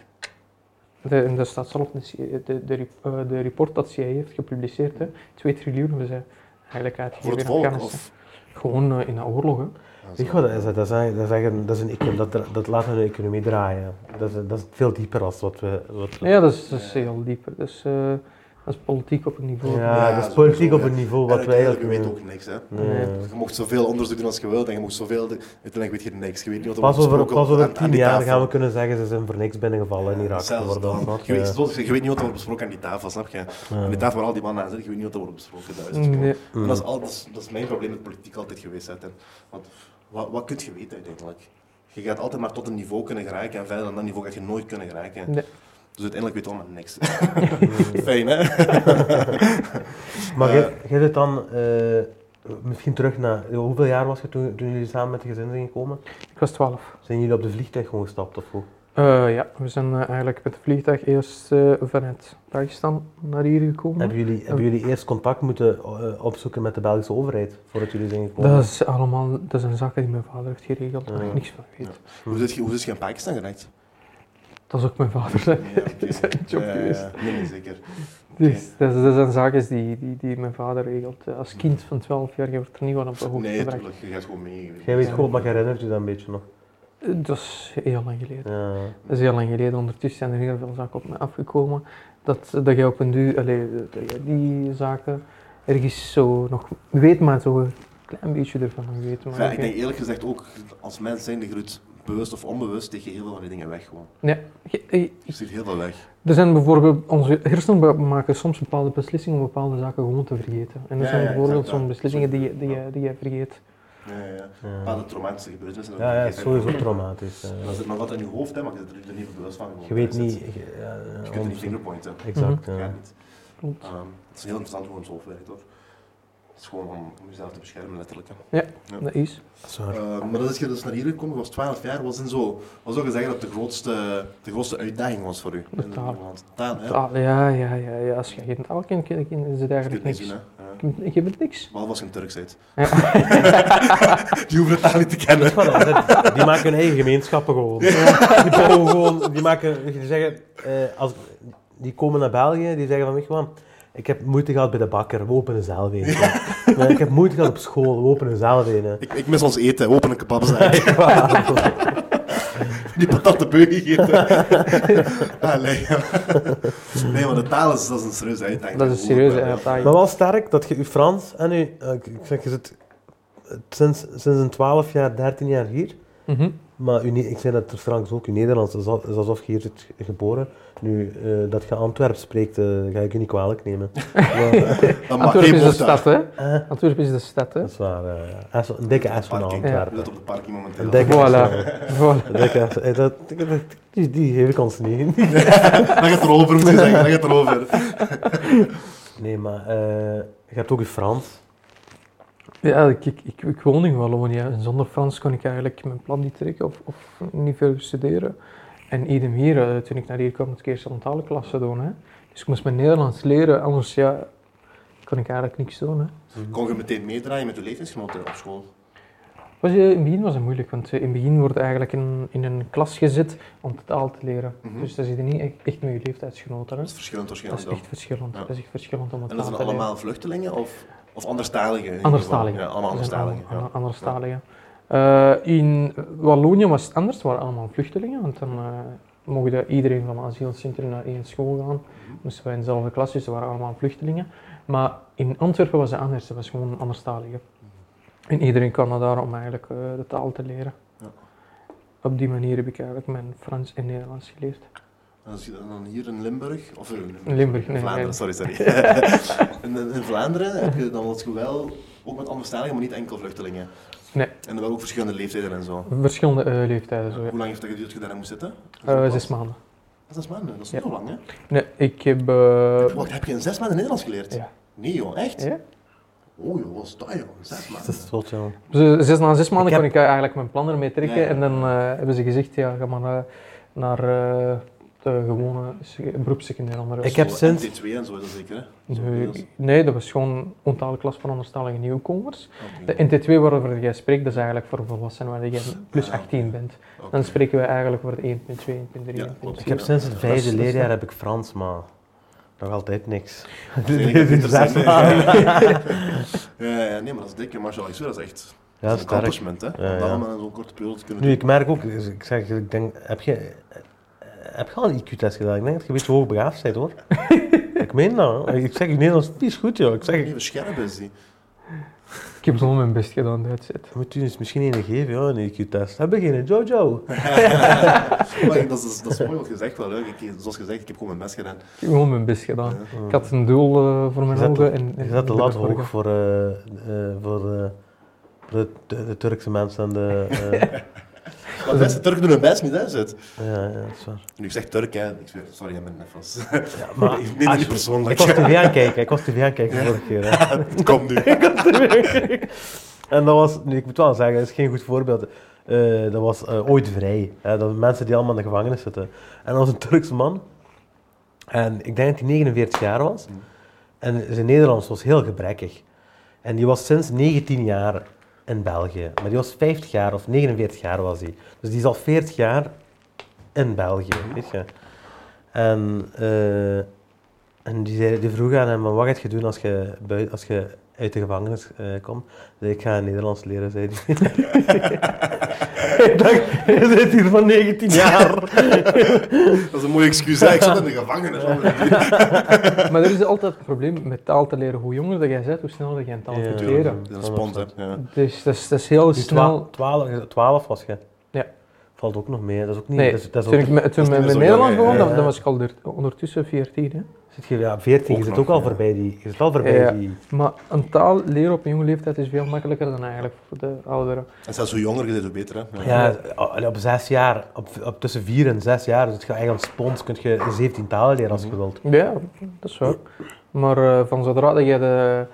S3: De, en dat staat zelf in de, CIA de, de, rep- eh, de report dat CIA heeft gepubliceerd. Hè. 2 triljoen hebben ze eigenlijk
S2: Voor
S3: uitgegeven
S2: het
S3: in
S2: volk,
S3: Afghanistan.
S2: of...
S3: Gewoon eh, in de oorlogen.
S2: Ja, zo.
S1: Ik dat is, dat is, eigenlijk- dat is, eigenlijk een- dat, is een, economie- dat, dra- dat laat hun economie draaien. Dat is, dat is veel dieper dan wat we. Wat we-
S3: Ja, dat is, dat is heel dieper. Dat is, eh, dat is politiek op een niveau.
S1: Ja,
S2: Ja,
S1: dat is politiek
S2: sowieso,
S1: op een niveau
S2: En
S1: wat wij.
S2: uiteindelijk, je
S1: eigenlijk-
S2: weet ook eh, niks, hè.
S1: Nee.
S3: Nee.
S2: Je mocht zoveel onderzoek doen als je wilt en je mocht zoveel... de- Uiteindelijk weet je niks. Je weet niet wat er
S1: Pas
S2: wordt
S1: over,
S2: besproken
S1: pas over
S2: aan- aan
S1: tien
S2: die
S1: jaar
S2: tafel.
S1: gaan we kunnen zeggen ze zijn voor niks binnengevallen in Irak.
S2: Zelfs
S1: bijvoorbeeld,
S2: dan.
S1: snap
S2: Je
S1: je?
S2: weet, zoals- je weet niet wat er wordt besproken aan die tafel, snap je? Aan die tafel waar al die mannen aan zitten, je weet niet wat er wordt besproken. Dat is,
S1: Mm,
S2: het gewoon.
S3: Mm, Nee.
S2: En dat, is al, dat, is, dat is mijn probleem met politiek altijd geweest. Hè. Ten- Want wat, wat kun je weten uiteindelijk? Je gaat altijd maar tot een niveau kunnen geraken en verder dan dat niveau gaat je nooit kunnen geraken.
S3: Nee.
S2: Dus uiteindelijk weet je allemaal niks. Fijn, hè?
S1: Maar jij- jij zit dan eh, misschien terug naar. eh, Hoeveel jaar was je toen, toen jullie samen met de gezin zijn gekomen?
S3: Ik was 12.
S1: Zijn jullie op de vliegtuig gewoon gestapt of hoe?
S3: Eh, ja, we zijn eh, eigenlijk met het vliegtuig eerst eh, vanuit Pakistan naar hier gekomen.
S1: Hebben jullie, hebben jullie eerst contact moeten eh, opzoeken met de Belgische overheid voordat jullie zijn gekomen?
S3: Dat, is allemaal, dat zijn zaken die mijn vader heeft geregeld, waar ik
S1: Ja.
S3: niks van weet.
S2: Hoe zit je, hoe zit je in Pakistan geraakt?
S3: Dat is ook mijn vader. hè.
S2: Ja, oké.
S3: is een job
S2: Ja, ja,
S3: geweest.
S2: ja. Nee, nee, zeker.
S3: Dus, dat, is- dat zijn zaken die, die, die mijn vader regelt. Eh, Als kind van 12 jaar je wordt er niet van op de hoogte
S2: Nee,
S3: gebracht.
S2: tuurlijk, je gaat gewoon mee.
S1: Jij weet goed, maar je herinnert je dat een beetje nog.
S3: Eh, Dat is heel lang geleden.
S1: Ja.
S3: Dat is heel lang geleden. Ondertussen zijn er heel veel zaken op me afgekomen. Dat, dat je op een duur, allee, dat je die zaken ergens zo nog weet, maar zo een klein beetje ervan nog weet. Maar
S2: Ja,
S3: oké.
S2: ik denk eerlijk gezegd ook, als mens zijn de groet, bewust of onbewust, tegen heel veel van die dingen weg gewoon.
S3: Je- je-
S2: Je ziet heel veel weg.
S3: Er zijn bijvoorbeeld, onze hersenen maken soms bepaalde beslissingen om bepaalde zaken gewoon te vergeten. En er
S2: Ja,
S3: zijn
S2: ja,
S3: bijvoorbeeld
S2: exact, ja.
S3: zo'n beslissingen die, je- die, je- die je vergeet.
S2: Ja, ja.
S1: Ja.
S2: Bepaalde traumatische gebeurtenissen.
S1: Ja, ja, sowieso traumatisch. ja.
S2: Dat zit maar wat in je hoofd, hè, maar je zit er niet bewust van. gewoon.
S1: Je weet
S2: Daar zit-
S1: niet. eh, je- ja,
S2: Je kunt er niet
S1: 100%.
S2: fingerpointen.
S1: Exact.
S2: Dat
S1: ja.
S2: gaat niet.
S3: Klopt.
S2: Ehm, het is heel interessant hoe ons hoofd werkt hoor. Het is gewoon om, om jezelf te beschermen, letterlijk. hè. Ja.
S3: Dat is.
S1: Dat is waar.
S2: Eh, maar dat is je dus naar hier gekomen, je was 12 jaar, was in zo, was ook gezegd dat de grootste, de grootste uitdaging was voor u.
S3: De taal.
S2: Taal, hè?
S3: Taal, Ah, ja, ja, ja, ja. Als je geen taal kent, ken- ken- is het
S2: Je kunt
S3: eigenlijk
S2: niks
S3: niks.
S2: doen, hè. Ja.
S3: Je bent niks.
S2: Behalve als je een Turks bent.
S3: Ja.
S2: Die hoeven het taal niet te
S1: Dat
S2: kennen.
S1: is wat het is. Die maken hun eigen gemeenschappen gewoon. Die bouwen gewoon, die maken, die zeggen, eh, als, die komen naar België, die zeggen van, weet je wat, ik heb moeite gehad bij de bakker, we openen zelf een. Nee, ik heb moeite gehad op school, we openen zelf een. hè.
S2: Ik, ik mis ons eten, open een kebab zijn. Die patat beu gegeten. Allee. Nee, maar de taal is, dat is een serieuze uitdaging.
S3: Dat is een serieuze uitdaging.
S1: Maar wel sterk dat je je Frans en je, eh, ik ik zeg, je zit eh, sinds, sinds een 12 jaar, 13 jaar hier,
S3: Mhm.
S1: maar je, Ne- ik zei dat er straks ook, je Nederlands is, al- is alsof je hier zit geboren. Nu, eh, dat je Antwerps spreekt, eh, ga ik je niet kwalijk nemen. Maar-
S2: Dat mag
S3: Antwerpen
S2: geen
S3: is de
S2: bocht daar.
S3: stad, hè?
S1: Eh,
S3: Antwerpen is de stad, hè?
S1: Dat is waar. eh, S- een dikke S van
S2: Parking.
S1: Antwerpen.
S2: We zitten op de parking momenteel.
S1: Een dikke S van
S3: Voilà.
S1: Antwerpen.
S3: voilà.
S1: Een dikke S- eh, dat- dat- Die, die geef ik ons niet.
S2: Dat gaat erover, moet je zeggen. Dat gaat erover.
S1: Nee, maar eh, je hebt ook je Frans.
S3: Ja, ik, ik, ik, ik woon in Wallonië. En zonder Frans kon ik eigenlijk mijn plan niet trekken of, of niet veel studeren. En idem hier, eh, toen ik naar hier kwam, moest ik eerst een talenklasse doen. Hè. Dus ik moest mijn Nederlands leren, anders ja, kon ik eigenlijk niks doen. Hè.
S2: Kon je meteen meedraaien met je leeftijdsgenoten op school?
S3: Was, eh, in het begin was het moeilijk, want eh, in het begin word je eigenlijk in, in een klas gezet om de taal te leren.
S2: Mhm.
S3: Dus daar zit je niet echt, echt met je leeftijdsgenoten. Hè.
S2: Dat is verschillend
S3: Dat
S2: waarschijnlijk
S3: is
S2: wel.
S3: echt verschillend.
S2: Ja.
S3: Dat is echt verschillend om het
S2: En dat
S3: taal
S2: zijn
S3: te leren.
S2: allemaal vluchtelingen of, of anderstaligen? in ieder geval?
S3: Anderstaligen.
S2: Ja, allemaal
S3: Dat zijn
S2: anderstaligen. Ja.
S3: allemaal ander- anderstaligen. Eh, in Wallonië was het anders, het waren allemaal vluchtelingen, want dan eh mocht je iedereen van het asielcentrum naar één school gaan.
S2: Mhm.
S3: Moesten wij in dezelfde klas, dus ze waren allemaal vluchtelingen. Maar in Antwerpen was het anders, het was gewoon anderstaligen. En iedereen kan dat daar om eigenlijk eh, de taal te leren.
S2: Mhm. Ja.
S3: Op die manier heb ik eigenlijk mijn Frans en Nederlands geleerd.
S2: En als je dan hier in Limburg, of in,
S3: In Limburg, nee,
S2: Vlaanderen, sorry,
S3: nee.
S2: sorry. in, in- in Vlaanderen heb je dan wat wel ook met anderstaligen, maar niet enkel vluchtelingen.
S3: Nee.
S2: En dan wel ook verschillende leeftijden en zo.
S3: Verschillende eh, leeftijden, zo ja.
S2: Hoe lang heeft dat geduurd Dus dat je daarin moest zitten?
S3: Eh,
S2: Zo
S3: zes
S2: pas?
S3: maanden.
S2: Zes maanden, dat is
S3: Ja.
S2: niet zo lang, hè?
S3: Nee, ik heb... eh,
S2: Wacht, heb je in zes maanden Nederlands geleerd?
S3: ja.
S2: Nee, joh, echt?
S3: Ja.
S2: Oh, joh, wat is dat, joh? Zes
S1: Dat
S2: maanden.
S1: is zot, ja.
S3: Dus zes, na zes maanden
S1: Ik heb-
S3: kon ik eigenlijk mijn plan ermee trekken.
S2: Ja.
S3: En dan eh, hebben ze gezegd, ja, ga maar eh, naar eh, de gewone se- beroepssecundair onderwijs.
S1: Ik heb
S2: Zo,
S1: sinds-
S2: MT2 en zo is dat zeker, hè?
S3: Nee, nee, dat was gewoon ontale klas voor anderstalige nieuwkomers.
S2: Oké.
S3: De NT2 waarover jij spreekt, dat is eigenlijk voor volwassenen waar jij plus
S2: Ah, oké.
S3: 18 bent.
S2: Oké.
S3: Dan spreken we eigenlijk voor de 1.2, 1.3,
S2: Ja,
S3: 1.4.
S2: klopt.
S1: Ik heb sinds het
S3: Dat is-
S1: vijfde
S3: dat is-
S1: leerjaar heb ik Frans, maar nog altijd niks.
S2: Nee, dat is
S1: Zes
S2: interessant, hè.
S1: maanden.
S2: Ja, ja, nee, maar dat is dikke, Marshall Alex, dat is echt
S1: Ja, dat
S2: dat is
S1: is
S2: een
S1: sterk.
S2: accomplishment, hè?
S1: Ja,
S2: Om
S1: ja.
S2: dat allemaal in zo'n korte periode te kunnen
S1: Nu,
S2: doen.
S1: ik merk ook, dus ik zeg, ik denk, heb je, eh, heb je al een IQ-test gedaan? Ik denk dat je weet hoe hoogbegaafd bent, hoor. ik meen dat. hoor. Ik zeg, je Nederlands is goed, joh. Ik zeg,
S2: Even scherp is die.
S3: Ik heb zo mijn best gedaan, dat zit.
S1: moet u eens misschien een geven, ja, een IQ-test. Heb je geen Jojo?
S2: Maar ik- dat, is, dat is mooi wat gezegd, wel leuk. Ik, zoals gezegd, ik heb gewoon mijn best gedaan.
S3: Ik heb gewoon mijn best gedaan.
S2: Ja.
S3: Ik had een doel eh, voor
S1: Je
S3: mijn
S1: zet
S3: ogen.
S1: de-
S3: En, en
S1: je zet de
S3: ik ben
S1: lat
S3: er voor
S1: hoog voor, eh, eh, voor eh, voor de, de, de Turkse mensen en de... eh,
S2: Maar de beste Turk doen hun best niet, hè? Zit.
S1: ja, ja, dat is waar.
S2: Nu, ik zeg Turk, hè? Ik zweer, sorry, ik ben net vast.
S1: Ja, maar
S2: Ik meen het niet persoonlijk.
S1: ik was tv aan kijken, ik was tv aan kijken
S2: Ja.
S1: vorige keer. hè.
S2: Het komt nu.
S1: En dat was, nu, ik moet wel zeggen, dat is geen goed voorbeeld. Eh, dat was eh, ooit vrij. hè, dat mensen die allemaal in de gevangenis zitten. En dat was een Turkse man. En ik denk dat hij 49 jaar was. En zijn Nederlands was heel gebrekkig. En die was sinds 19 jaar in België. Maar die was 50 jaar of 49 jaar was hij. Dus die is al 40 jaar in België, weet je. En, eh, en die, zei, die vroeg aan hem, "Maar wat ga je doen als je, bui- als je uit de gevangenis eh, komt? Hij Zei, ik ga Nederlands leren, zei hij. ik dacht, je zit hier van 19 jaar.
S2: Dat is een mooie excuus, hè? Ik zat in de gevangenis. man.
S3: Maar er is altijd een probleem met taal te leren. Hoe jonger dat jij bent, hoe sneller dat jij een taal
S1: Ja.
S3: kunt
S2: Tuurlijk,
S3: leren.
S2: Dat is een spons, hè? Ja.
S3: Dus dat is, dat is heel
S1: Die
S3: snel.
S1: 12, 12 was je.
S3: Ja.
S1: Valt ook nog mee, dat is ook niet...
S3: Nee,
S1: dat is, dat is
S3: toen
S1: ook
S3: ik met, toen
S2: niet
S3: met
S2: meer zo
S3: Nederlands
S2: jong,
S3: begon,
S2: hè.
S3: dan,
S1: Ja.
S3: dan was ik al der- ondertussen 14. Hè.
S1: Zit je, ja, 14,
S2: Ook
S1: je zit
S2: nog,
S1: ook al
S2: ja.
S1: voorbij die. Je zit al voorbij
S3: Ja.
S1: die.
S3: Maar een taal leren op een jonge leeftijd is veel makkelijker dan eigenlijk voor de ouderen.
S2: En zelfs hoe jonger je bent, hoe beter, hè?
S1: Ja, allee, op zes jaar, op, op tussen vier en zes jaar, dus het gaat eigenlijk spons, kun je 17 talen leren als je wilt.
S3: Ja, dat is waar. Maar eh, van zodra dat jij de,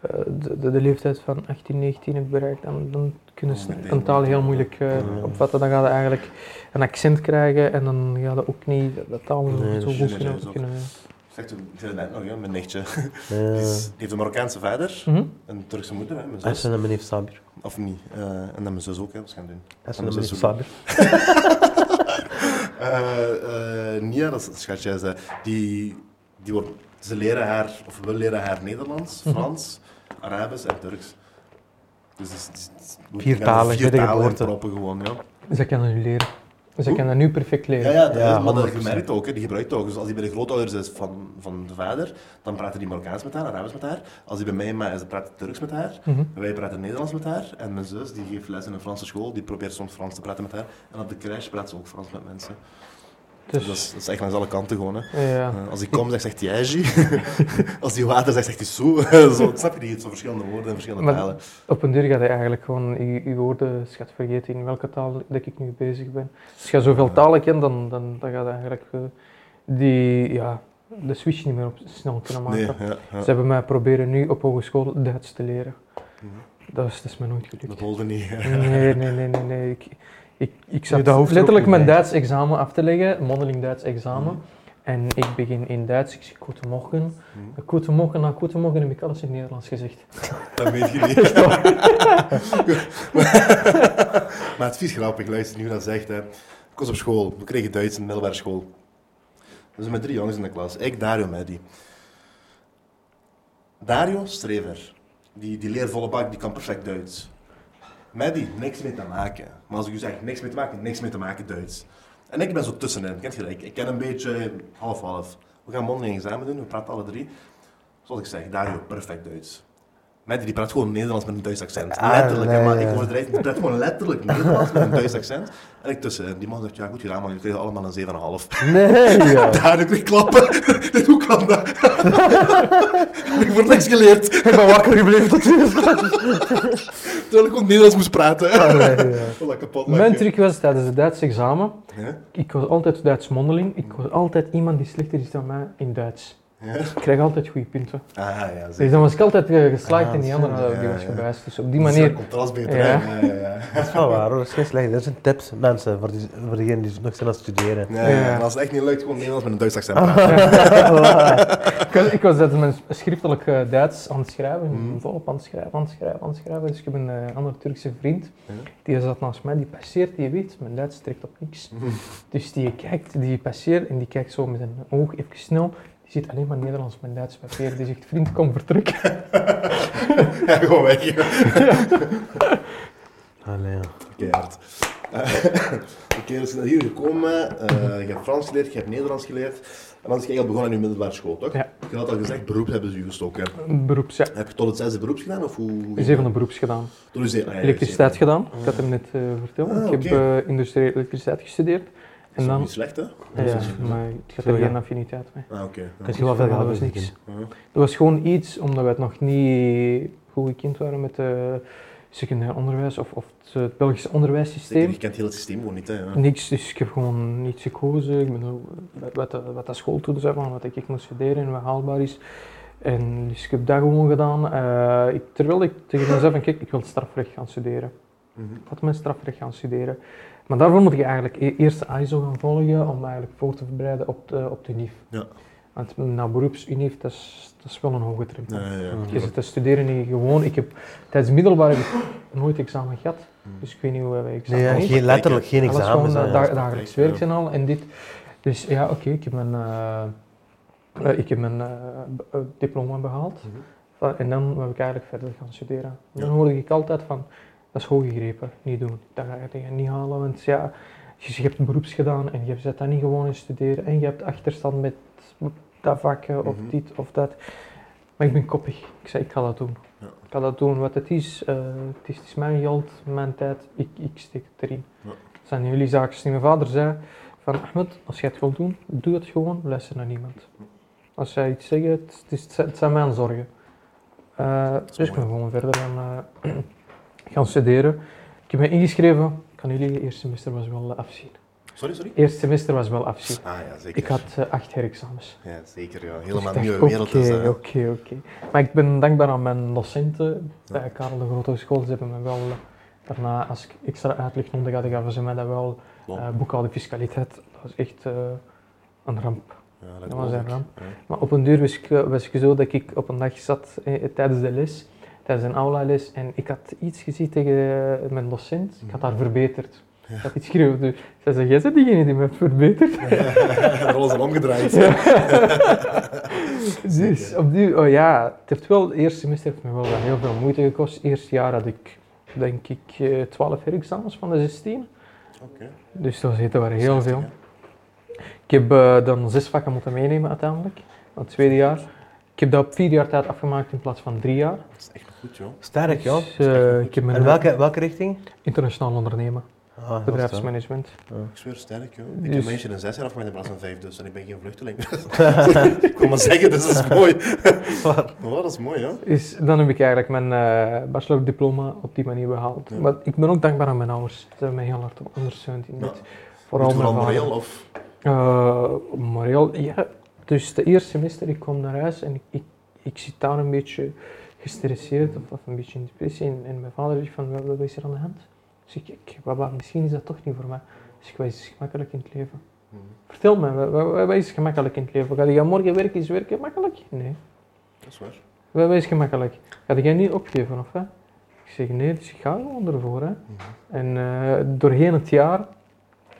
S3: eh, de, de, de leeftijd van 18, 19 hebt bereikt, dan, dan kunnen ze
S2: Meteen.
S3: een taal heel moeilijk eh, opvatten. Dan ga je eigenlijk een accent krijgen en dan ga je ook niet de- de taal
S1: Nee,
S3: zo
S1: dat is
S3: goed
S2: juist,
S3: kunnen.
S2: dat is ook-
S3: kunnen
S2: Zegt u, ik zei het net nog, hè? Mijn nichtje.
S1: Ja.
S2: Die, is- die heeft een Marokkaanse vader,
S3: Mhm.
S2: een Turkse moeder, hè? Mijn
S1: Dat is
S2: zus.
S1: een meneer Sabir.
S2: Of niet. eh, en dan mijn zus ook, hè? Wat gaan doen?
S1: Dat is
S2: En
S1: een
S2: mijn
S1: meneer
S2: zus ook.
S1: Sabir.
S2: Eh, eh, Nia, dat is schatje, ze, die, die wordt, ze leren haar, of we leren haar Nederlands,
S1: Mhm.
S2: Frans, Arabisch en Turks. Dus het is- het is- het is- we
S1: Vier
S2: gaan
S1: talen,
S2: vier
S1: bij de
S2: talen
S1: geboorte.
S2: proppen gewoon, ja.
S3: Ze kunnen dat nu leren. Ze
S2: Hoe?
S3: kunnen dat nu perfect
S2: Ja,
S3: leren.
S2: ja, dat
S1: Ja,
S2: is, maar dat
S1: 100%.
S2: gemerkt ook, hè, die gebruikt het ook. Dus als die bij de grootouders is van, van de vader, dan praten die Marokkaans met haar, Arabisch met haar. Als die bij mij ma is, dan praat die Turks met haar.
S3: Mhm.
S2: En Wij praten Nederlands met haar. En mijn zus, die geeft les in een Franse school, die probeert soms Frans te praten met haar. En op de crash praat ze ook Frans met mensen. Dus
S3: Dus,
S2: dat is, dat is echt langs alle kanten gewoon, hè.
S3: ja.
S2: Eh, Als die kom zegt, zegt hij Eiji. Als die water zegt, zegt hij zo. zo. Snap je die? Zo verschillende woorden en verschillende
S3: Maar-
S2: talen.
S3: Op een duur ga je eigenlijk gewoon je, je woordenschat vergeten in welke taal dat ik nu bezig ben. Als je zoveel talen kent, dan, dan, dan ga je eigenlijk eh, die, ja, de switch niet meer op, snel kunnen maken.
S2: Nee, ja,
S3: Ze
S2: ja.
S3: hebben mij proberen nu op hogeschool Duits te leren.
S2: Mhm.
S3: Dat is, dat is mij nooit
S2: Dat
S3: gelukt.
S2: holde niet.
S3: Nee, nee, nee, nee. nee. Ik, ik, ik zat
S1: dat hoeft er ook
S3: letterlijk
S1: niet
S3: mijn
S1: bij.
S3: Duits examen af te leggen, mondeling Duits examen.
S2: Mhm.
S3: En ik begin in Duits, ik zeg goedemorgen.
S2: Mhm.
S3: Goedemorgen, na goedemorgen heb ik alles in Nederlands gezegd.
S2: Dat weet je niet. maar het is vies grappig, luister nu dat zegt. Hè. Ik was op school, we kregen Duits in de middelbare school. Dus met drie jongens in de klas. Ik, Dario, Medi. Dario, strever. Die, die leert volle bak, die kan perfect Duits. Medi, niks mee te maken. Maar als ik u zeg, niks mee te maken, niks mee te maken Duits. En ik ben zo tussenin, kent je dat? Ik, ik ken een beetje half-half. We gaan mondeling examen doen, we praten alle drie. Zoals ik zeg, Dario, perfect Duits. Meid, die praat gewoon Nederlands met een Duits accent.
S1: Ah,
S2: letterlijk, hè,
S1: nee,
S2: maar
S1: ja.
S2: ik overdrijf niet. Die praat gewoon letterlijk Nederlands met een Duits accent. En ik tussen. En die man zegt, ja goed gedaan man, jullie kregen allemaal een 7,5.
S1: Nee, ja.
S2: Daar heb ik klappen. Dit, hoe kan dat? ik word niks geleerd.
S1: Ik ben wakker gebleven tot hier.
S2: Terwijl ik ook Nederlands moest praten.
S1: Nee, ja.
S2: Voilà, kapot
S3: Mijn
S2: lachen.
S3: truc was tijdens het Duits examen,
S2: Ja?
S3: ik was altijd Duits mondeling, ik was altijd iemand die slechter is dan mij in Duits.
S2: Ja?
S3: Ik kreeg altijd goede punten.
S2: Ah, ja, zeker.
S3: Dus dan was ik altijd eh, geslaagd
S1: Ah,
S3: en die
S1: zo,
S3: andere eh, die
S2: ja,
S3: was
S2: ja.
S3: gewijs. Dus op die manier,
S2: contrast beter.
S3: Ja.
S2: hè? Ja, ja, ja.
S1: Dat is wel waar hoor, dat is geen slecht. Dat zijn tips, mensen, voor, die, voor diegenen die nog zijn aan het studeren.
S2: Ja,
S3: Ja.
S2: ja. En als het echt niet lukt, gewoon Nederlands met een Duits accent praten.
S3: ik was, ik was tijdens mijn schriftelijk eh, Duits aan het schrijven,
S2: Mhm.
S3: volop aan het schrijven, aan het schrijven, aan het schrijven. Dus ik heb een eh, andere Turkse vriend,
S2: Ja.
S3: die zat naast mij, die passeert, die weet, mijn Duits trekt op niks.
S2: Mhm.
S3: Dus die kijkt, die passeert en die kijkt zo met een oog even snel. Die ziet alleen maar Nederlands met Duits papier. Die zegt, vriend, kom vertrekken.
S2: Ja, gewoon weg.
S1: Allee, ja.
S2: Keihard. Eh, Oké, dus je bent hier gekomen. eh, je hebt Frans geleerd, je hebt Nederlands geleerd. En dan is je eigenlijk begonnen aan je middelbare school, toch?
S3: Ja.
S2: Je had al gezegd, beroep hebben ze je gestoken.
S3: Een Beroeps, ja.
S2: Heb je tot het zesde beroeps gedaan? Of hoe?
S3: Dus even een beroeps gedaan.
S2: Tot je zeven. ah, ja,
S3: Elektriciteit
S2: zeven.
S3: gedaan. Ik had hem net eh, verteld.
S2: Ah,
S3: ik heb
S2: oké.
S3: eh, industriële elektriciteit gestudeerd. En
S2: Dat is
S3: dan...
S2: niet slecht, hè?
S1: niet
S3: Ja,
S1: zo-
S3: maar ik had
S1: Zo,
S3: er
S1: ja.
S3: geen affiniteit mee.
S2: Ah, oké.
S1: Dat
S2: Ja.
S1: is heel veel gehad
S3: Dat was niks.
S2: Ja.
S3: Dat was gewoon iets omdat we het nog niet goed gekend waren met het secundair onderwijs of, of het, eh, het Belgische
S2: Zeker,
S3: onderwijssysteem.
S2: je kent heel het systeem gewoon niet, hè? Ja.
S3: Niks, dus ik heb gewoon niets gekozen. Ik ben ook- wat, de- wat dat school toen zei, van wat ik echt moest studeren en wat haalbaar is. En dus ik heb dat gewoon gedaan. Eh, ik, terwijl ik tegen mezelf zei van kijk, ik wil strafrecht gaan studeren.
S2: Mhm.
S3: Ik had mijn strafrecht gaan studeren. Maar daarvoor moet ik eigenlijk e- eerst ISO gaan volgen om me eigenlijk voor te bereiden op de, op de UNIF.
S2: Ja.
S3: Want na beroepsunief, dat is, dat is wel een hoge drempel.
S2: Ja, ja, Ah, ja.
S1: Je
S3: Je zit te studeren niet gewoon. Ik heb tijdens middelbaar heb ik nooit examen gehad. Dus ik weet niet hoe wij examen
S1: Nee, ja,
S3: is.
S1: geen, letterlijk geen
S3: Dat was gewoon
S1: examens. hè,
S3: da-
S1: ja.
S3: da- dagelijks
S2: Ja.
S3: werk zijn al en dit. Dus ja, oké, ik heb mijn, eh, eh, ik heb mijn eh, b- eh, diploma behaald.
S2: Mhm.
S3: Va- En dan heb ik eigenlijk verder gaan studeren. En Dan
S2: Ja.
S3: hoorde ik altijd van, dat is hooggegrepen, niet doen. Dat ga je- dat ga je niet halen, want ja, je, je hebt beroeps gedaan en je zet dat niet gewoon in studeren. En je hebt achterstand met dat vakken of
S2: Mhm.
S3: dit of dat. Maar ik ben koppig. Ik zei, ik ga dat doen.
S2: Ja.
S3: Ik ga dat doen wat het is. eh, het, is het is mijn geld, mijn tijd. Ik, ik steek het erin.
S2: Ja.
S3: Het zijn jullie zaken. Dus mijn vader zei van Ahmed, als jij het wilt doen, doe het gewoon. Luister naar niemand. Als jij iets zegt, het, het is, het zijn mijn zorgen. Eh,
S2: is
S3: dus ik ben
S2: mooi.
S3: gewoon verder gaan, eh, gaan studeren. Ik heb me ingeschreven. Ik kan jullie, eerste semester was wel eh, afzien.
S2: Sorry, sorry?
S3: Eerste semester was wel afzien.
S2: Ah, ja, zeker.
S3: Ik had eh, acht herexamens.
S2: Ja, zeker, ja. Helemaal
S3: Ik dacht,
S2: nieuwe wereld is,
S3: Oké,
S2: hè.
S3: oké, oké. Maar ik ben dankbaar aan mijn docenten bij Karel de Grote School. Ze hebben me wel eh, daarna, als ik extra uitleg nodig had, gaven ze mij dat wel.
S2: Bon.
S3: Eh boekhouding, fiscaliteit, dat was echt eh, een ramp.
S2: Ja,
S3: dat was
S2: hoor
S3: een
S2: ik.
S3: ramp.
S2: Ja.
S3: Maar op een duur was ik, eh, was ik zo dat ik op een dag zat eh, tijdens de les, tijdens een aula-les, en ik had iets gezien tegen eh, mijn docent. Ik had
S2: Mhm.
S3: haar verbeterd. Ik had iets geschreven. Dus Zij zei, jij bent diegene die me heeft verbeterd.
S2: De rollen zijn omgedraaid.
S3: Dus opnieuw, oh ja, het heeft wel, het eerste semester heeft me wel wel heel veel moeite gekost. Het eerste jaar had ik, denk ik, eh, 12 herexamens van de 16.
S2: Oké.
S3: Dus dat zitten waren heel veel. Ik heb eh, dan zes vakken moeten meenemen uiteindelijk, van het tweede jaar. Ik heb dat op vier jaar tijd afgemaakt in plaats van drie jaar.
S2: Dat is echt goed, joh.
S1: Sterk, joh.
S3: Dus, eh, ik heb mijn
S1: En welke, welke richting?
S3: internationaal ondernemen,
S1: Ah, dat is
S3: bedrijfsmanagement.
S2: Ik zweer sterk, joh. Ik
S3: Dus-
S2: heb mensen in zes jaar afgemaakt in plaats van vijf, dus. En ik ben geen vluchteling. ik kon maar zeggen, dus dat is mooi.
S1: waar.
S2: Maar dat is mooi, hè.
S3: Is, dan heb ik eigenlijk mijn eh bachelordiploma op die manier behaald.
S2: Ja.
S3: Maar ik ben ook dankbaar aan mijn ouders. Ze hebben mij heel hard ondersteund in
S2: Ja.
S3: dit.
S2: Vooral,
S3: mijn
S2: vooral
S3: vader.
S2: moreel, of...
S3: Eh, moreel, ja. Dus de eerste semester, ik kwam naar huis en ik, ik, ik zit daar een beetje gestresseerd of, of een beetje in depressie. En, en mijn vader zegt van, wat, wat is er aan de hand? Dus ik, ik, baba, misschien is dat toch niet voor mij. Dus ik, wat is gemakkelijk in het leven?
S2: Hm,
S3: Vertel me, wat, wat, wat is gemakkelijk in het leven? Ga je morgen werken, is werken gemakkelijk? Nee.
S2: Dat is waar.
S3: Wat, wat is gemakkelijk? Ga jij niet opgeven of wat? Ik zeg nee, dus ik ga gewoon ervoor. Hè. En eh, doorheen het jaar,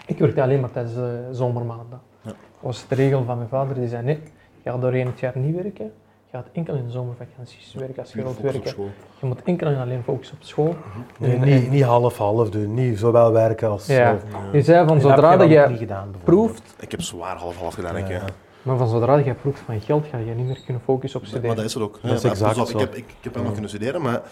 S3: ik werkte alleen maar tijdens de zomermaanden.
S2: Ja.
S3: Dat was de regel van mijn vader, die zei nee, je gaat doorheen het jaar niet werken. Je gaat enkel in de zomervakanties werken als je
S2: Puur
S3: wilt
S2: focus op
S3: werken.
S2: school.
S3: Je moet enkel en alleen focussen op school.
S1: Nee,
S3: En-
S1: niet, niet half-half doen, niet zowel werken als
S3: Ja.
S1: zelf.
S3: Je zei van
S1: En dat heb
S3: zodra dat
S1: dan
S3: je
S1: niet gedaan, bijvoorbeeld.
S3: proeft,
S2: Ik heb zwaar half-half gedaan, ik,
S1: Ja.
S2: ja.
S3: Maar van zodra je proeft van geld, ga je niet meer kunnen focussen op
S2: Maar
S3: studeren.
S2: dat is het ook.
S1: Dat is
S2: Ja,
S1: exact
S2: pas
S1: zo.
S2: op, Ik heb, ik, ik heb helemaal kunnen studeren, maar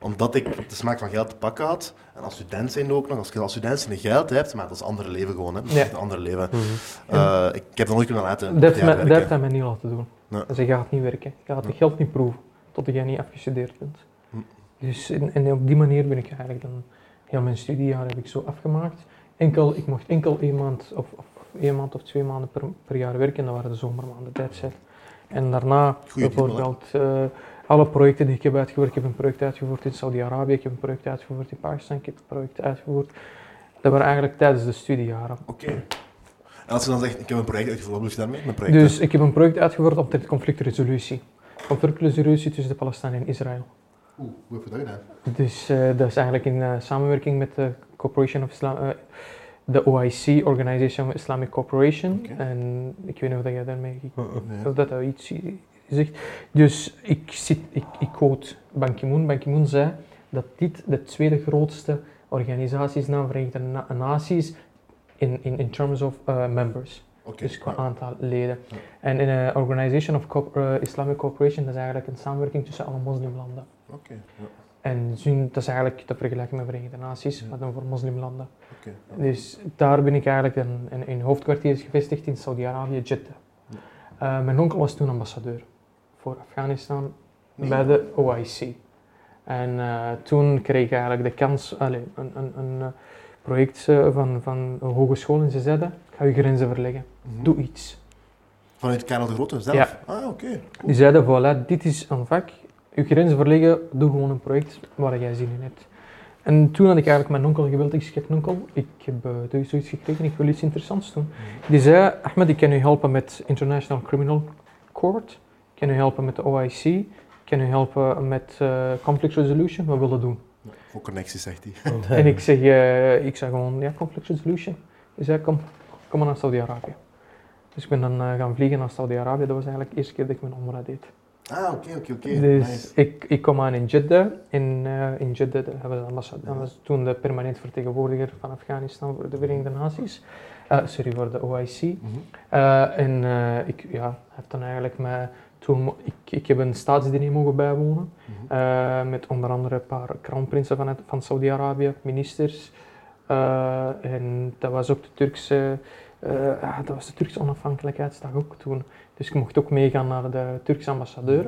S2: omdat ik de smaak van geld te pakken had, en als student zijn ook nog, als je als student zijn geld hebt, maar dat is een andere leven gewoon, hè.
S3: Ja.
S2: Een ander leven.
S1: Mhm.
S2: Eh, ik heb dat nooit kunnen laten.
S3: Dat heeft
S2: ja,
S3: men-
S2: werken.
S3: dat heeft hij mij niet laten doen.
S2: Nee.
S3: Dus je gaat niet werken. Je gaat het geld niet proeven totdat jij niet afgestudeerd bent.
S2: Hm.
S3: Dus en, en op die manier ben ik eigenlijk dan heel mijn studiejaar heb ik zo afgemaakt. Enkel, ik mocht enkel één maand of, of één maand of twee maanden per, per jaar werken. Dat waren de zomermaanden, that's it. En daarna
S2: Goeie deal,
S3: bijvoorbeeld eh, alle projecten die ik heb uitgevoerd. Ik heb een project uitgevoerd in Saudi-Arabië, ik heb een project uitgevoerd in Pakistan, ik heb een project uitgevoerd. Dat waren eigenlijk tijdens de studiejaren.
S2: Oké. En als je dan zegt, ik heb een project uitgevoerd, wat bedoel je daarmee? Mijn project?
S3: Dus ik heb een project uitgevoerd omtrent conflictresolutie. Conflictresolutie tussen de Palestijnen en Israël.
S2: Oeh, hoe heb je dat gedaan?
S3: Dus eh, dat is eigenlijk in eh, samenwerking met de Corporation of Islam, eh, de OIC, Organization of Islamic Cooperation.
S2: Oké.
S3: En ik weet niet of jij daarmee
S2: Nee.
S3: of dat dat iets i- zegt. Dus ik, zit, ik, ik quote Ban Ki-moon. Ban Ki-moon zei dat dit de tweede grootste organisatie is na de Verenigde Na- Naties in, in, in terms of eh, members.
S2: Oké.
S3: Dus qua
S2: Ja.
S3: aantal leden.
S2: Ja.
S3: En in een Organization of Co- eh, Islamic Cooperation, dat is eigenlijk een samenwerking tussen alle moslimlanden.
S2: Oké. ja.
S3: En zien- dat is eigenlijk te vergelijken met Verenigde Naties,
S2: Ja.
S3: maar dan voor moslimlanden.
S2: Oké. ja.
S3: Dus daar ben ik eigenlijk dan in, in hoofdkwartier is gevestigd in Saudi-Arabië, Jeddah.
S2: Ja.
S3: Eh, mijn onkel was toen ambassadeur voor Afghanistan
S2: Nee.
S3: bij de oh, OIC. En eh, toen kreeg ik eigenlijk de kans, allee, een, een, een eh, project eh, van, van een hogeschool en ze zeiden, ik ga je grenzen verleggen,
S2: Mhm.
S3: doe iets.
S2: Vanuit Karel de Grote zelf?
S3: Ja.
S2: Ah, oké.
S3: Die zeiden, voilà, dit is een vak. Je grenzen verleggen, doe gewoon een project waar jij zin in hebt. En toen had ik eigenlijk mijn onkel gebeld, ik zeg, onkel, ik heb eh, dus zoiets gekregen, ik wil iets interessants doen. Die zei, Ahmed, ik kan u helpen met International Criminal Court, ik kan u helpen met de OIC, ik kan u helpen met eh, conflict resolution, wat wil je doen?
S2: Voor connecties, zegt hij.
S3: En ik zeg, eh, ik zeg gewoon, ja, conflict resolution. Hij zei, kom, kom maar naar Saudi-Arabië. Dus ik ben dan eh, gaan vliegen naar Saudi-Arabië, dat was eigenlijk de eerste keer dat ik mijn omra deed.
S2: Ah, oké, oké, oké.
S3: Dus
S2: Nice.
S3: ik, ik kom aan in Jeddah. In, eh, in Jeddah daar hebben we de ambassade.
S2: Ja.
S3: Dat was toen de permanent vertegenwoordiger van Afghanistan voor de Verenigde Naties. Eh, sorry, voor de OIC.
S2: Mhm.
S3: Eh, en eh, ik ja, heb dan eigenlijk me, toen, mo- ik, ik heb een staatsdiner mogen bijwonen.
S2: Mhm.
S3: eh, met onder andere een paar kroonprinsen van, het- van Saudi-Arabië, ministers. Eh, en dat was ook de Turkse, eh, ah, dat was de Turkse onafhankelijkheidsdag ook toen. Dus ik mocht ook meegaan naar de Turkse ambassadeur.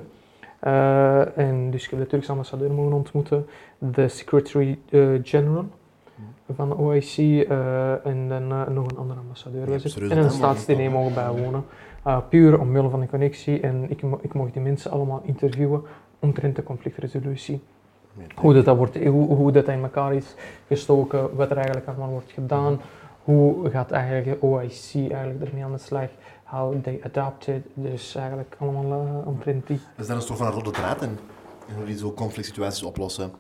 S3: Eh, en dus ik heb de Turkse ambassadeur mogen ontmoeten, de Secretary-General van de OIC eh, en dan eh, nog een andere ambassadeur
S2: Ja,
S3: was het.
S2: absoluut.
S3: en een
S2: Ja, maar-
S3: staatsdiner mogen bijwonen. Eh, puur omwille van de connectie en ik, mo- ik mocht die mensen allemaal interviewen omtrent de conflictresolutie.
S2: Nee,
S3: Hoe dat, dat, wordt, hoe, hoe dat in elkaar is gestoken, wat er eigenlijk allemaal wordt gedaan, hoe gaat eigenlijk de OIC eigenlijk ermee aan de slag, how they adapted, dus eigenlijk allemaal eh, omtrent die
S2: Is daar een soort van een rode draad in? In hoe die zo conflict situaties oplossen?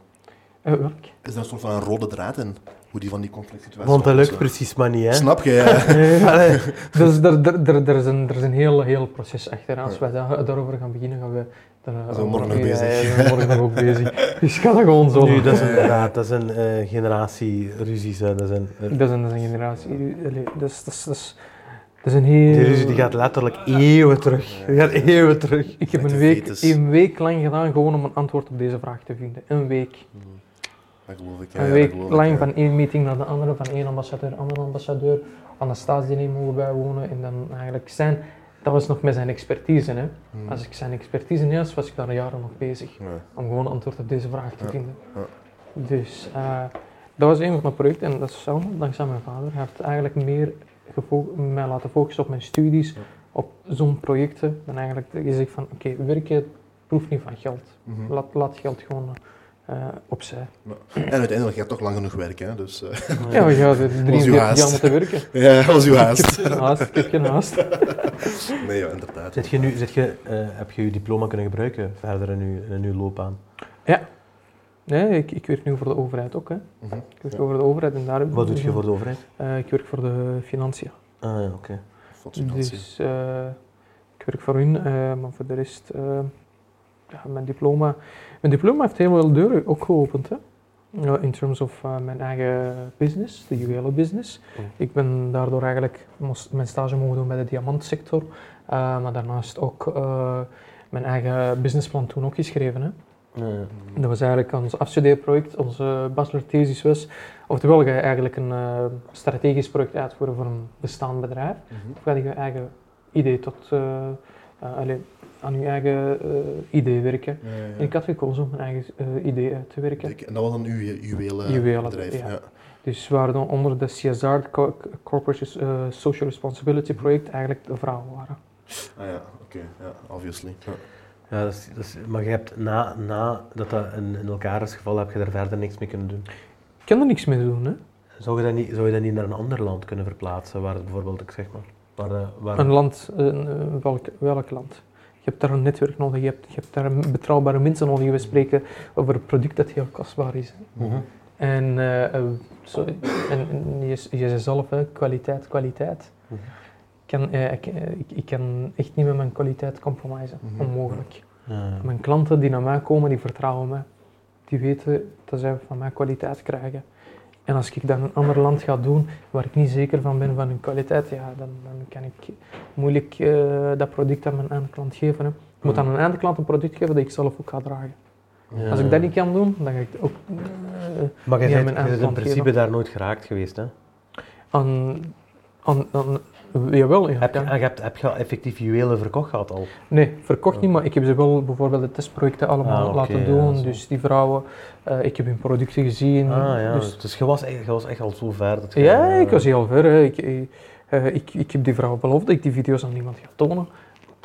S3: eh, werk.
S2: Is daar een soort van een rode draad in? Hoe die van die conflict situaties
S1: Want dat lukt
S2: oplossen?
S1: precies maar niet, hè.
S2: Snap je? ja.
S1: Allee.
S3: Dus er, er, er, er is een, er is een heel, heel proces achter. Als wij da- daarover gaan beginnen, gaan we... Dan, eh,
S2: Zijn we morgen nog
S3: ja,
S2: bezig.
S3: Ja, zijn we morgen nog ook bezig. Dus ik ga dat gewoon zo
S1: Nu,
S3: doen.
S1: dat is inderdaad, dat zijn eh generatieruzies. hè. Dat zijn, eh,
S3: Dat is een, dat is een generatie... allee, Dat is, dat, is, dat, is, dat is een
S1: die
S3: heel...
S1: ruzie die gaat letterlijk eeuwen terug. Die gaat eeuwen terug.
S3: Ik heb
S2: Met
S3: een
S2: de
S3: week,
S2: fetus.
S3: een week lang gedaan gewoon om een antwoord op deze vraag te vinden. Een week.
S2: Dat geloof ik. ja,
S3: Een
S2: ja,
S3: week
S2: dat geloof ik,
S3: lang
S2: ja.
S3: van één meeting naar de andere, van één ambassadeur naar andere ambassadeur, aan de staatsdiner mogen bijwonen en dan eigenlijk zijn... Dat was nog met zijn expertise, hè.
S2: Mhm.
S3: Als ik zijn expertise niet had, was ik daar jaren nog bezig.
S2: Ja.
S3: om gewoon antwoord op deze vraag te
S2: Ja,
S3: vinden.
S2: ja.
S3: Dus eh, dat was een van mijn projecten en dat is allemaal dankzij mijn vader. Hij heeft eigenlijk meer gefo- mij laten focussen op mijn studies,
S2: Ja.
S3: op zo'n projecten. En eigenlijk is ik van, oké, werken proef niet van geld.
S2: Mhm.
S3: Laat, laat geld gewoon eh, opzij.
S2: En uiteindelijk gaat het toch lang genoeg werken, hè? dus... eh,
S3: Ja, we gaan
S2: haast.
S3: 43 jaar moeten werken.
S2: ja, dat was uw haast.
S3: Ik heb geen haast, ik heb geen haast.
S2: Nee, ja, inderdaad.
S1: Zit je nu, zit je, eh, heb je je diploma kunnen gebruiken verder in je, in je loopbaan?
S3: Nee, ik, ik werk nu voor de overheid ook. Hè.
S2: Mhm.
S3: Ik werk
S2: Ja.
S3: voor de overheid en daar...
S1: Wat doe je voor de overheid?
S3: Eh, ik werk voor de financiën.
S1: Ah, ja, oké.
S2: Fascinatie.
S3: Dus eh, ik werk voor hun, eh, maar voor de rest, eh, ja, mijn diploma. Mijn diploma heeft heel veel deuren ook geopend. Hè? eh, in terms of eh, mijn eigen business, de juwelenbusiness.
S1: Mm.
S3: Ik ben daardoor eigenlijk mos- mijn stage mogen doen bij de diamantsector, eh, maar daarnaast ook eh, mijn eigen businessplan toen ook geschreven. Hè. Dat was eigenlijk ons afstudeerproject, onze bachelorthesis was, oftewel ga je eigenlijk een eh, strategisch project uitvoeren voor een bestaand bedrijf.
S2: Mm-hmm.
S3: Of ga je je eigen idee tot, eh, eh, allee, aan je eigen eh, idee werken. En ik had gekozen om mijn eigen eh, idee uit te werken.
S2: Dik. En dat was dan uw ju- juwelenbedrijf.
S3: Juwelenbedrijf,
S2: Ja.
S3: ja.
S2: Ja.
S3: Dus we waren dan onder de CSR, Co- Corporate eh, Social Responsibility project, eigenlijk de vrouwen waren.
S2: Ah ja, oké. Ja, obviously. Ja.
S1: Ja, dat is, dat is- maar je hebt na, na dat dat in, in elkaar is gevallen, heb je daar verder niks mee kunnen doen.
S3: Ik kan er niks mee doen, hè.
S1: Zou je dat niet, zou je dat niet naar een ander land kunnen verplaatsen, waar het bijvoorbeeld, ik zeg maar, waar, eh, waar,
S3: Een land, een, eh, welk, welk land? Je hebt daar een netwerk nodig, je hebt, je hebt daar een betrouwbare mensen nodig. We spreken over een product dat heel kostbaar is. hè.
S1: Mhm.
S3: En, eh, eh, zo, en, en je, je zei zelf, hè, kwaliteit, kwaliteit.
S1: Mhm.
S3: Ik kan, eh, ik, eh, ik, ik kan echt niet met mijn kwaliteit compromisen,
S2: Mhm.
S3: onmogelijk.
S1: Ja.
S3: Mijn klanten die naar mij komen, die vertrouwen mij. Die weten dat zij van mij kwaliteit krijgen. En als ik dan een ander land ga doen waar ik niet zeker van ben van hun kwaliteit, ja, dan, dan kan ik moeilijk eh, dat product aan mijn eindklant geven. Hè. Ik
S1: Mhm.
S3: moet aan een eindklant een product geven dat ik zelf ook ga dragen.
S1: Ja.
S3: Als ik dat niet kan doen, dan ga ik ook eh,
S1: Maar jij
S3: Ja,
S1: bent- jij
S3: mijn
S1: bent in
S3: aanklant
S1: principe
S3: geven.
S1: daar nooit geraakt geweest, hè?
S3: aan, aan, aan jawel, ja,
S1: Heb, je,
S3: kan.
S1: ah, je hebt, heb je al effectief juwelen verkocht gehad al?
S3: Nee, verkocht niet, maar ik heb ze wel bijvoorbeeld de testprojecten allemaal
S1: Oh. Ah, oké,
S3: laten
S1: ja,
S3: doen.
S1: zo.
S3: dus die vrouwen, eh, ik heb hun producten gezien.
S1: Ah ja,
S3: dus
S1: dus, je, was echt, je was echt al zo ver dat je...
S3: Ja,
S1: eh,
S3: ik was heel ver. Hè. Ik, ik, eh, ik, ik heb die vrouw beloofd dat ik die video's aan niemand ga tonen.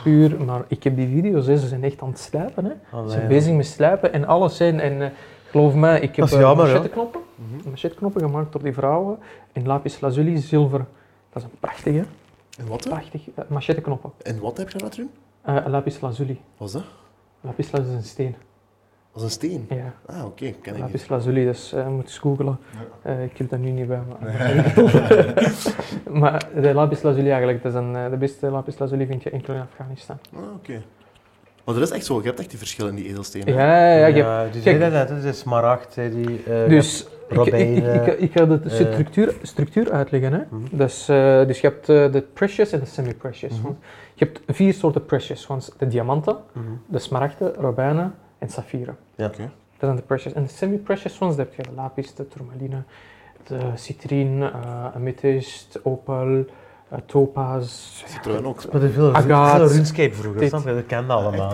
S3: Puur, maar ik heb die video's, hè. ze zijn echt aan het slijpen. Hè.
S1: eh, Allee,
S3: Ze zijn
S1: Ah, ja.
S3: bezig met slijpen en alles. Hè. En eh, geloof mij, ik heb
S1: Dat is
S3: eh,
S1: jammer, hè.
S3: machetknoppen,
S2: Mm-hmm.
S3: machetknoppen gemaakt door die vrouwen. In lapis lazuli, zilver. Dat is een prachtige,
S2: En wat? hè?
S3: prachtig eh, machetknoppen.
S2: En wat heb je daar toen?
S3: Eh, lapis lazuli.
S2: Wat is dat?
S3: Lapis lazuli is een steen.
S2: Dat is een steen.
S3: Ja.
S2: Ah, oké. Ken ik niet.
S3: Lapis lazuli, dus eh, moet eens googelen. Eh, ik heb dat nu niet bij me. maar de lapis lazuli eigenlijk, dat is een, eh, de beste lapis lazuli vind je enkel in Afghanistan.
S2: Ah, oké. Maar dat is echt zo. Je hebt echt die verschillen in die edelstenen. hè?
S3: Ja, ja,
S1: Ja,
S3: je hebt-
S1: die
S3: kijk.
S1: zei dat net, hè, die smaragd, zei die... eh,
S3: dus ik, ik, ik,
S1: robijnen.
S3: ik, ik ga de
S1: eh,
S3: structuur, structuur uitleggen. Hè.
S1: Mhm.
S3: Dus, eh, dus je hebt eh, de precious en de semi-precious.
S2: Mhm.
S3: Want Je hebt vier soorten precious. Want de diamanten,
S1: Mhm.
S3: de smaragden, robijnen en saffieren.
S1: Ja.
S2: Oké.
S3: Dat zijn de precious. En de semi-precious ones, daar heb je de lapis, de tourmaline, de citrine, eh amethyst, opal, eh, topaz.
S2: Citroën ook.
S1: Maar er veel, er
S3: Agaat.
S1: veel RuneScape vroeger,
S3: Dit.
S1: snap je? Dat kende allemaal.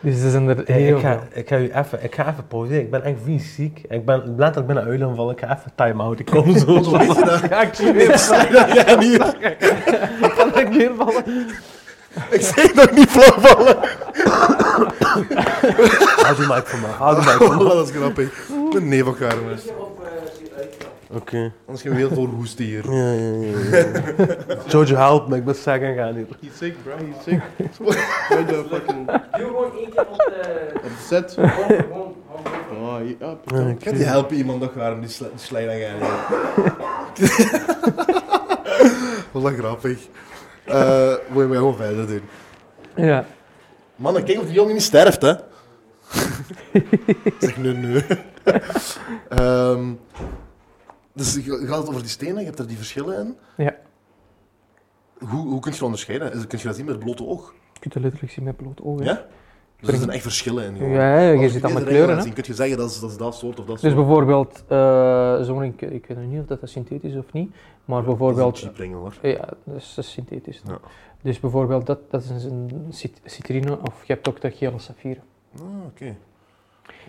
S3: Dus er zijn er
S1: Hey, Eh,
S3: heel
S1: ik, ga,
S3: veel.
S1: ik ga u even, ik ga even pauzeren. Ik ben echt vies ziek. Ik ben letterlijk binnen uilen vallen. Ik ga even time-out. Ik kom zo.
S2: Zo is dat.
S3: Ja, ik zie
S2: Ik
S3: weer
S2: zei dat jij niet-
S3: van de neervallen.
S2: Ik zei dat niet flauwvallen.
S1: Hou die mic voor me. Hou die mic voor
S2: Oh, dat is grappig. Een neef van Karmers.
S1: me. Oké.
S2: Anders gaan we heel veel hoesten hier.
S1: Ja, ja, ja, ja. Jojo, help me. Ik ben sec aan gaan hier.
S2: He's sick, bro. He's sick. What the fucking
S4: Doe gewoon één keer op de.
S2: upset?
S4: Gewoon, gewoon,
S2: Oh, je up.
S1: Ja,
S2: Kan je helpen iemand nog waarom die sle- slijt aan gaan? Wat dat grappig. Eh, Moet je maar gewoon verder doen.
S3: Ja.
S2: Mannen, kijk of die jongen niet sterft, hè. zeg nee, nee. Ehm, dus je gaat het over die stenen, je hebt er die verschillen in.
S3: Ja.
S2: Hoe, hoe kun je dat onderscheiden? Is- Kun je dat zien met het blote oog?
S3: Je kunt het letterlijk zien met bloot ogen.
S2: Ja? Dus er zijn echt verschillen in. jongen.
S3: Ja, ja,
S2: Als
S3: je
S2: die
S3: ziet allemaal
S2: regel
S3: kleuren.
S2: laat
S3: Hè?
S2: zien, Kun je zeggen dat is dat, is dat soort of dat
S3: Dus
S2: soort?
S3: bijvoorbeeld, eh zo'n, ik, ik weet nog niet of dat is synthetisch of niet, maar
S2: Dat
S3: bijvoorbeeld, eh,
S2: is een cheap ding, hoor.
S3: ja, dat is, dat is synthetisch. dan.
S2: Ja.
S3: Dus bijvoorbeeld, dat, dat is een cit- citrine, of je hebt ook de gele saffieren.
S2: Ah, oké.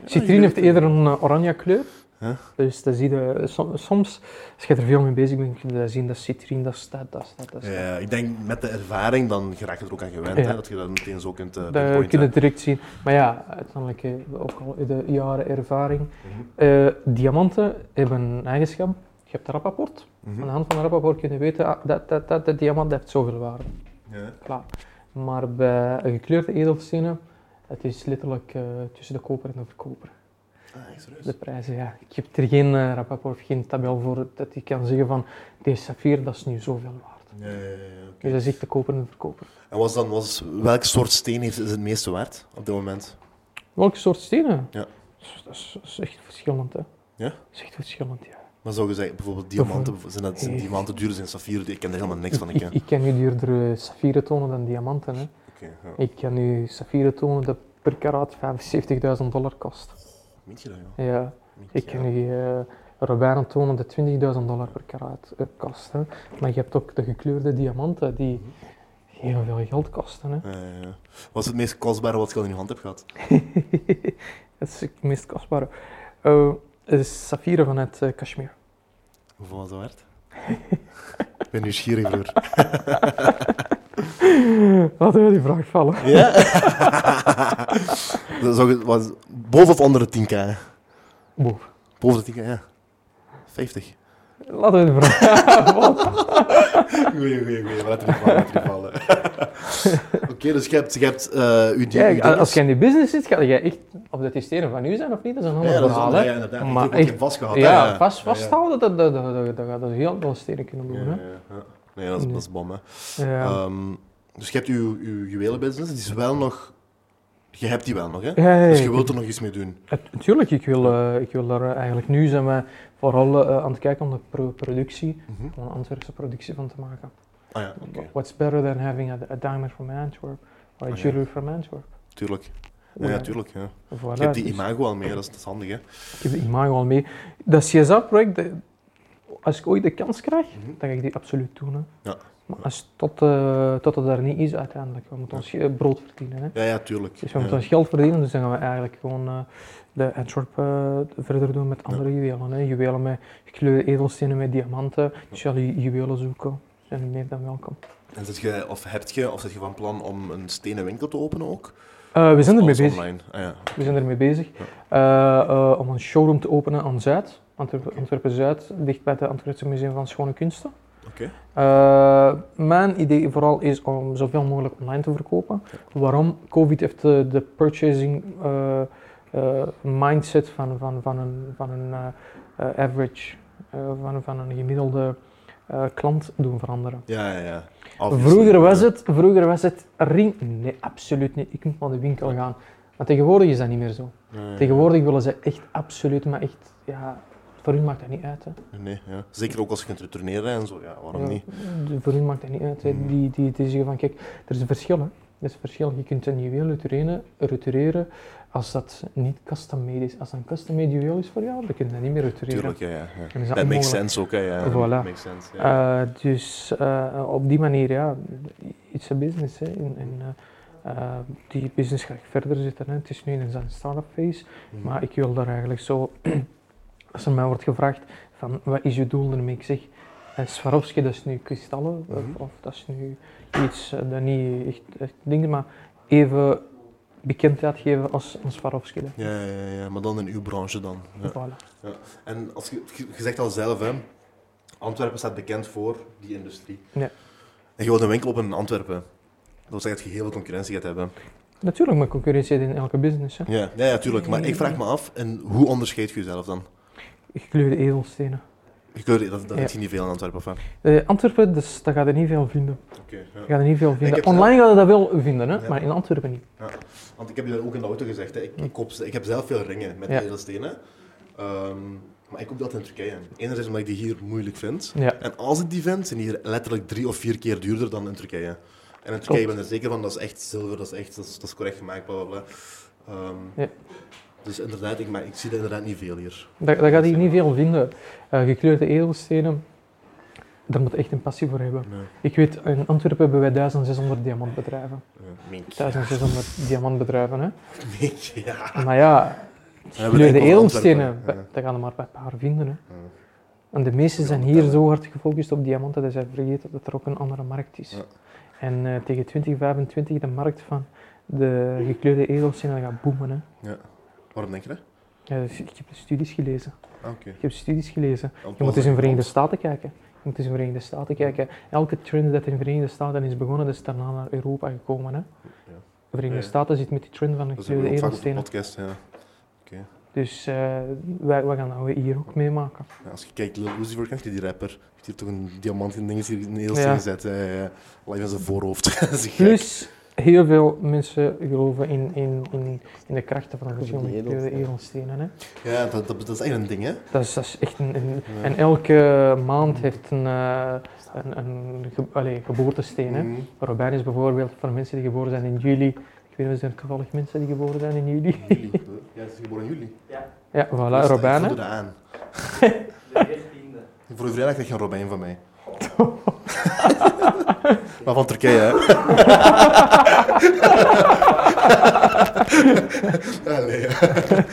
S2: Ja,
S3: citrine heeft eerder een eh, oranje kleur,
S2: Ja.
S3: dus dat zie je som- soms, als je er veel mee bezig bent, kun je dat zien, dat citrine, dat staat, dat staat, dat staat.
S2: Ja, ik denk met de ervaring dan raak je er ook aan gewend,
S3: Ja.
S2: hè, dat je dat meteen zo kunt eh
S3: Dat kun je
S2: pinpointen.
S3: het direct zien. Maar ja, uiteindelijk, eh, ook al de jaren ervaring.
S2: Mhm.
S3: Eh, diamanten hebben een eigenschap. Je hebt een rappapport.
S2: Mhm.
S3: Aan de hand van een rappapport kun je weten ah, dat, dat, dat de diamant heeft zoveel waarde.
S2: Ja.
S3: Klaar. Maar bij een gekleurde edelstenen, het is letterlijk eh, tussen de koper en de verkoper.
S2: Ah, echt serieus?
S3: De prijzen, ja. Ik heb er geen eh, rappapport of geen tabel voor dat ik kan zeggen van deze saffier, dat is nu zoveel waard.
S2: Ja, ja, ja, ja, oké.
S3: Dus dat is echt de koper en de verkoper.
S2: En was dan, was, welk soort steen heeft, is het meeste waard op dit moment?
S3: Welke soort stenen?
S2: Ja.
S3: Dus Dat is, dat is echt verschillend, hè.
S2: Ja?
S3: Dat is echt verschillend, ja.
S2: Maar zou je zeggen, bijvoorbeeld diamanten, zijn dat zijn
S3: Nee.
S2: diamanten duurder, zijn saffieren, duurder? ik ken er helemaal niks van. Ik, hè.
S3: Ik, ik kan nu duurdere saffieren tonen dan diamanten, hè.
S2: Oké, ja.
S3: Ik kan nu saffieren tonen dat per karaat 75.000 dollar kost.
S2: Meen je dat, joh?
S3: Ja.
S2: Meen je
S3: Ik
S2: dat?
S3: kan nu eh robijnen tonen dat 20.000 dollar per karaat eh, kost. Hè. Maar je hebt ook de gekleurde diamanten
S2: Mhm.
S3: die heel veel geld kosten. Hè.
S2: Ja, ja, ja. Wat is het meest kostbare wat je al in je hand hebt gehad?
S3: dat is het meest kostbare. Eh het is saffieren vanuit eh Kashmir.
S2: Hoeveel was dat waard? ik ben nieuwsgierig, broer.
S3: Laten we die vraag vallen.
S2: Ja? dat zou je- was boven of onder de 10k? hè?
S3: Boef.
S2: Boven de 10k, ja. 50.
S3: Laten we die vraag vallen.
S2: Goeie, goeie, goeie. Laat het vallen, laat het vallen. Oké, dus je hebt, je hebt eh, uw die- uw
S3: Kijk, als
S2: dinges.
S3: jij in die business zit, ga jij echt... Of dat die stenen van u zijn of niet, dat is een ander
S2: Ja, dat is
S3: verhaal.
S2: ander,
S3: hè.
S2: ja, inderdaad.
S3: Maar
S2: Maar echt
S3: echt-
S2: vastgehaald.
S3: Ja,
S2: hè?
S3: vast
S2: Ja, ja.
S3: vasthouden, dat, dat, dat, dat, dat gaat heel veel stenen kunnen
S2: Ja,
S3: doen.
S2: ja,
S3: Hè?
S2: ja. Nee, dat is, dat is bom, hè.
S3: Ja.
S2: Ehm, dus je hebt uw, uw juwelenbusiness, die is wel nog... Je hebt die wel nog, hè?
S3: Ja, ja, ja,
S2: Dus je
S3: ik-
S2: wilt er nog iets mee doen.
S3: Het- Natuurlijk, ik wil, eh, ik wil daar eh, eigenlijk nu zijn we vooral eh, aan het kijken om de pro- productie,
S2: Mhm.
S3: om een Antwerpse productie van te maken.
S2: Ah ja, oké.
S3: What's better than having a, a diamond from Antwerp or a
S2: Ah, ja.
S3: jewelry from Antwerp?
S2: Tuurlijk. Ja, ja, tuurlijk, ja.
S3: Voilà,
S2: Je hebt die
S3: dus
S2: imago al mee, dat is, dat is handig, hè?
S3: Ik heb de imago al mee. Dat CSA-project, de- als ik ooit de kans krijg,
S2: Mhm.
S3: dan ga ik die absoluut doen. Hè.
S2: Ja.
S3: Maar als, tot, eh, tot het daar niet is uiteindelijk, we moeten ons eh, brood verdienen. Hè.
S2: Ja, ja, tuurlijk.
S3: Dus we
S2: Ja.
S3: moeten ons geld verdienen, dus dan gaan we eigenlijk gewoon eh, de Antwerp eh, verder doen met andere juwelen. Hè. Juwelen met gekleurde edelstenen, met diamanten. Dus ja, die juwelen zoeken zijn meer dan welkom. Eh,
S2: En zit je, of heb je, of zit je van plan om een stenen winkel te openen ook?
S3: Eh, we zijn
S2: Of
S3: ermee
S2: alles
S3: bezig.
S2: online? Ah ja.
S3: We zijn ermee bezig eh, eh, om een showroom te openen aan Zuid, Antwerpen, Antwerpen Zuid, dicht bij het Antwerpse Museum van Schone Kunsten.
S2: Oké.
S3: Eh, mijn idee vooral is om zoveel mogelijk online te verkopen. Waarom? Covid heeft de, de purchasing eh, eh, mindset van, van, van een, van een eh, eh, average, eh, van, van een gemiddelde eh, klant doen veranderen.
S2: Ja, ja, ja.
S3: Vroeger was, het, vroeger was het ring. Nee, absoluut niet. Ik moet naar de winkel gaan. Maar tegenwoordig is dat niet meer zo. Tegenwoordig willen ze echt absoluut, maar echt, ja, voor hun maakt dat niet uit. Hè.
S2: Nee, ja. Zeker ook als je kunt returneren en zo, ja, waarom
S3: Ja,
S2: niet? Hmm.
S3: de- Voor hun maakt dat niet uit. hè. Die, die, die zeggen van, kijk, er is een verschil. Hè. Er is een verschil. Je kunt een juweel retureren, retureren als dat niet custom made is. Als dat een custom made juweel is voor jou, dan kun je dat niet meer retureren.
S2: Tuurlijk, ja, ja. ja.
S3: En is dat
S2: Dat makes
S3: onmogelijk.
S2: sense ook, hè. Ja.
S3: Voilà.
S2: Makes sense, ja.
S3: Eh, dus eh, op die manier, ja, it's a business. Hè. En, en, eh, eh, die business ga ik verder zitten. Hè. Het is nu in zijn start-up phase,
S2: Mhm.
S3: Eh, maar ik wil daar eigenlijk zo, als er mij wordt gevraagd van wat is je doel ermee, ik zeg eh, Swarovski, dat is nu kristallen, of-
S2: Mhm.
S3: of, dat is nu iets eh, dat niet echt, echt dingen, maar even bekendheid geven als, als Swarovski. hè.
S2: Ja, ja, ja, ja, maar dan in uw branche dan. Ja.
S3: Voilà.
S2: En als je, je je zegt al zelf, hè, Antwerpen staat bekend voor die industrie.
S3: Ja.
S2: En je wilt een winkel openen in Antwerpen. Dat wil zeggen dat je heel veel concurrentie gaat hebben.
S3: Natuurlijk, maar concurrentie zit in elke business. Hè.
S2: Ja, ja, ja tuurlijk. Maar ik vraag me af, en hoe onderscheid je jezelf dan?
S3: Gekleurde edelstenen.
S2: Je kunt, dat dat
S3: Ja.
S2: heb je niet veel in Antwerpen. Van.
S3: Eh, Antwerpen, dus, daar ga je niet veel vinden.
S2: Oké.
S3: Je gaat er niet veel vinden.
S2: heb-
S3: Online ga je dat wel vinden, hè?
S2: Ja.
S3: maar in Antwerpen niet.
S2: Want ik heb je dat ook in de auto gezegd. Hè. Ik, ik, koop, ze- ik heb zelf veel ringen met
S3: Ja.
S2: edelstenen. Ehm, maar ik koop dat in Turkije. Enerzijds omdat ik die hier moeilijk vind.
S3: Ja.
S2: En als ik die vind, zijn die hier letterlijk drie of vier keer duurder dan in Turkije. En in Turkije ben ik er zeker van, dat is echt zilver, dat is, echt, dat is, dat is correct gemaakt, bla bla bla. Ehm,
S3: Ja.
S2: Dus inderdaad, ik, maar ik zie dat inderdaad niet veel hier.
S3: Dat, dat gaat hier niet veel vinden. Eh, gekleurde edelstenen, daar moet je echt een passie voor hebben.
S2: Nee.
S3: Ik weet, in Antwerpen hebben wij 1600 diamantbedrijven.
S2: Ja, mink.
S3: 1600 diamantbedrijven, hè.
S2: Mink, ja.
S3: Maar ja,
S2: hebben het enkel in
S3: gekleurde
S2: Antwerpen,
S3: edelstenen,
S2: ja.
S3: dat gaan er maar bij een paar vinden, hè.
S2: Ja.
S3: En de meesten zijn hier
S2: Diamanten.
S3: zo hard gefocust op diamanten dat zij vergeten dat er ook een andere markt is.
S2: Ja.
S3: En eh, tegen 2025 de markt van de gekleurde edelstenen gaat boomen, hè.
S2: Ja. Waarom denk je dat?
S3: Ja, dus ik heb de studies gelezen.
S2: Ah, oké.
S3: Ik heb studies gelezen.
S2: Want
S3: Je moet eens in
S2: een
S3: de Verenigde Staten kijken. Je moet eens in de Verenigde Staten kijken. Elke trend dat in de Verenigde Staten is begonnen, is daarna naar Europa gekomen. Hè? De Verenigde
S2: Ja, ja.
S3: Staten zit met die trend van de
S2: Dat is ook
S3: gekleurde
S2: vaak op de
S3: edelstenen.
S2: podcast, ja.
S3: Dus eh, wij, wij gaan dat hier ook meemaken.
S2: Ja, Als je kijkt, Lil Uzi Vert, kijk je die rapper. Heeft hier toch een diamant in ding, is hier een
S3: Ja.
S2: heel gezet. Ja, ja, ja. Alleen in zijn voorhoofd. Dat is gek.
S3: Plus, heel veel mensen geloven in, in, in, in de krachten van de
S5: Goed, die
S3: verschillende
S5: edels,
S3: kleuren
S5: ja.
S3: edelstenen. Hè.
S2: Ja, dat, dat, dat is echt een ding, hè?
S3: Dat, is, dat is echt een, een-
S2: Ja.
S3: En elke maand heeft een, eh, een, een ge- allee, geboortesteen. Hè.
S2: Mhm.
S3: Robijn is bijvoorbeeld voor mensen die geboren zijn in juli. Ik weet niet, zijn er toevallig mensen die geboren zijn in juli?
S2: Juli. Ja, ze is geboren in juli. Dus
S3: Ja, voilà,
S2: ik
S3: Robijn. hè.
S2: voelde dat aan.
S4: de dertiende.
S2: Voor de vrijdag krijg je een Robijn van mij. maar van Turkije, hè? Allee, ja.
S3: Maar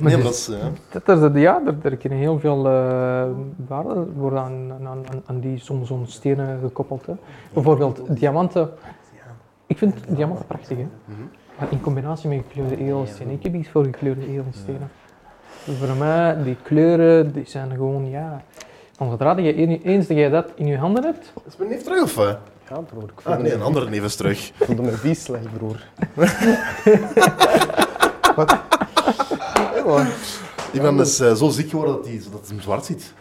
S2: Nee, maar
S3: dus-
S2: dat is... eh,
S3: Dat is het, ja, er, er kunnen heel veel eh, waarden worden aan, aan, aan, aan die soms zo'n stenen gekoppeld. Hè. Bijvoorbeeld diamanten. Ik vind diamanten prachtig, hè.
S2: mhm.
S3: maar in combinatie met gekleurde edelstenen. Ik heb iets voor gekleurde edelstenen. Voor mij, die kleuren die zijn gewoon, ja. Want zodra dat je een- eens dat je dat in je handen hebt,
S2: Is mijn neef terug, of wat?
S5: Ja, broer. Ik voelde,
S2: Ah, nee, een
S5: me,
S2: andere neef is terug.
S5: ik voelde me vies slecht, broer.
S2: Iemand is eh, zo ziek geworden dat hij dat hij hem zwart ziet.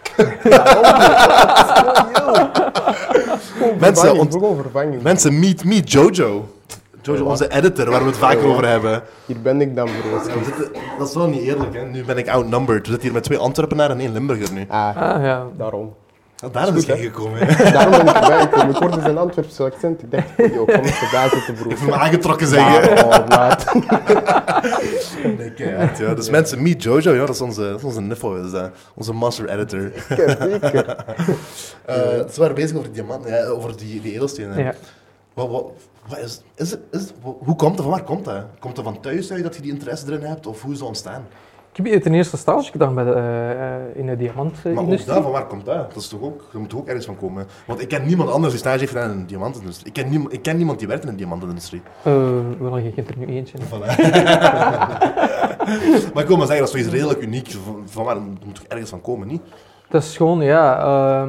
S2: Mensen,
S5: Vervanging,
S2: ont-
S5: gewoon vervanging.
S2: mensen, meet, meet Jojo. Jojo, onze editor, waar we het vaker over hebben.
S5: Hier ben ik dan, broer.
S2: Ja, we zitten- dat is wel niet eerlijk, hè. Nu ben ik outnumbered. We zitten hier met twee Antwerpenaren en één Limburger nu.
S5: Ah,
S3: ah ja,
S5: daarom.
S2: Ah, Daar is
S5: goed,
S2: het
S5: hè.
S2: gekomen, hè.
S5: Daarom ben ik erbij gekomen. Ik hoorde zijn Antwerpse accent. Ik dacht, joh, kom eens erbij zitten,
S2: Ik voel me
S5: broer.
S2: aangetrokken, zeggen.
S5: oh, laat.
S2: Nee, keihard, ja. Dus mensen, meet Jojo, ja, dat is onze, dat is onze niffo, is dat. onze master editor.
S5: Zeker, zeker.
S2: Eh, Ze waren bezig over die diamanten, ja, over die, die edelstenen.
S3: ja.
S2: Wat, wat, wat is, is, het- is, het- wa- hoe komt dat? Van waar komt dat? Komt dat van thuis uit dat je die interesse erin hebt? Of hoe is dat ontstaan?
S3: Ik heb ten eerste stage gedaan bij de, eh, eh, in de
S2: Maar ook
S3: diamantindustrie.
S2: dat, van waar komt dat? Dat, is toch ook, dat moet toch ook ergens van komen? Want ik ken niemand anders die stage heeft gedaan in de diamantenindustrie. Ik ken, niemand- ik ken niemand die werkt in de diamantenindustrie.
S3: Eh, wel, je kent er nu eentje.
S2: Voilà. maar ik wil maar zeggen, dat is toch iets redelijk uniek. Van, van waar dat moet toch ergens van komen, niet?
S3: Dat is gewoon, ja. eh,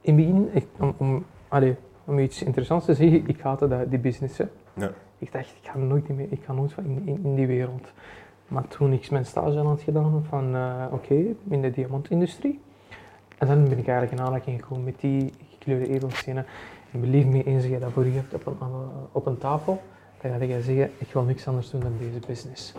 S3: in het begin, ik- om, om, allee, om iets interessants te zeggen, ik haatte dat, die business. Hè.
S2: Ja.
S3: Ik dacht, ik ga nooit, meer, ik ga nooit van in, in, in die wereld. Maar toen ik mijn stage aan had gedaan, van eh, oké, in de diamantindustrie. En dan ben ik eigenlijk in aanraking gekomen met die gekleurde edelstenen. En believe me, eens je dat voor je hebt op een, aan een- op een tafel, dan ga je zeggen, ik wil niks anders doen dan deze business.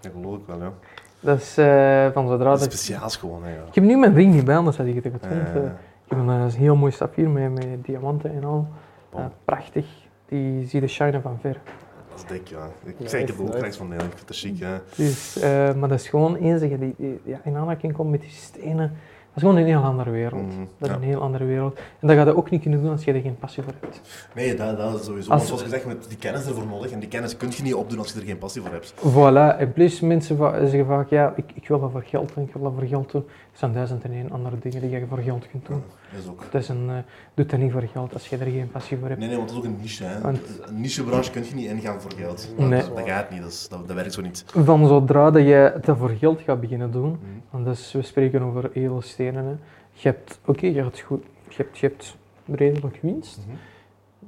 S2: Dat geloof ik wel, ja.
S3: Dat is eh, van zodra
S2: Dat is
S3: dat...
S2: speciaals gewoon, hè, ja.
S3: Ik heb nu mijn ring niet bij, anders had ik het getoond.
S2: Eh,
S3: eh. Ik heb een eh, heel mooi saffier met, met diamanten en al.
S2: Bom.
S3: Eh, prachtig. Die zie je shinen van ver.
S2: dat is dik, ja. Ik
S5: Ja,
S2: zeg, ik heb
S5: echt
S2: er ook
S5: nice.
S2: niks van, nee. Ik vind het chic, hè.
S3: Dus, eh, maar dat is gewoon eens dat je die, die- ja, in aanraking komt met die stenen. Dat is gewoon een heel andere wereld.
S2: Mhm,
S3: Dat is
S2: ja.
S3: een heel andere wereld. En dat ga je ook niet kunnen doen als je er geen passie voor hebt.
S2: Nee, dat, dat is sowieso.
S3: Als-
S2: Maar zoals gezegd, met die kennis ervoor nodig. En die kennis kun je niet opdoen als je er geen passie voor hebt.
S3: Voilà. En plus, mensen va- zeggen vaak, ja, ik, ik wil dat voor geld doen, ik wil dat voor geld doen. Er zijn duizend en één andere dingen die je voor geld kunt doen.
S2: Dat is ook.
S3: Dat is een, eh, doe dat niet voor geld als je er geen passie voor hebt.
S2: Nee, nee, want dat is ook een niche. Hè.
S3: Want-
S2: Een nichebranche kun je niet ingaan voor geld.
S5: Nee.
S2: Dat, dat gaat niet, dat, is- dat, dat werkt zo niet.
S3: Van zodra dat je dat voor geld gaat beginnen doen,
S2: Mhm.
S3: Want dus we spreken over edelstenen. Hè. Je hebt, oké, je, hebt goed- je, hebt, je hebt redelijk winst.
S2: Mhm.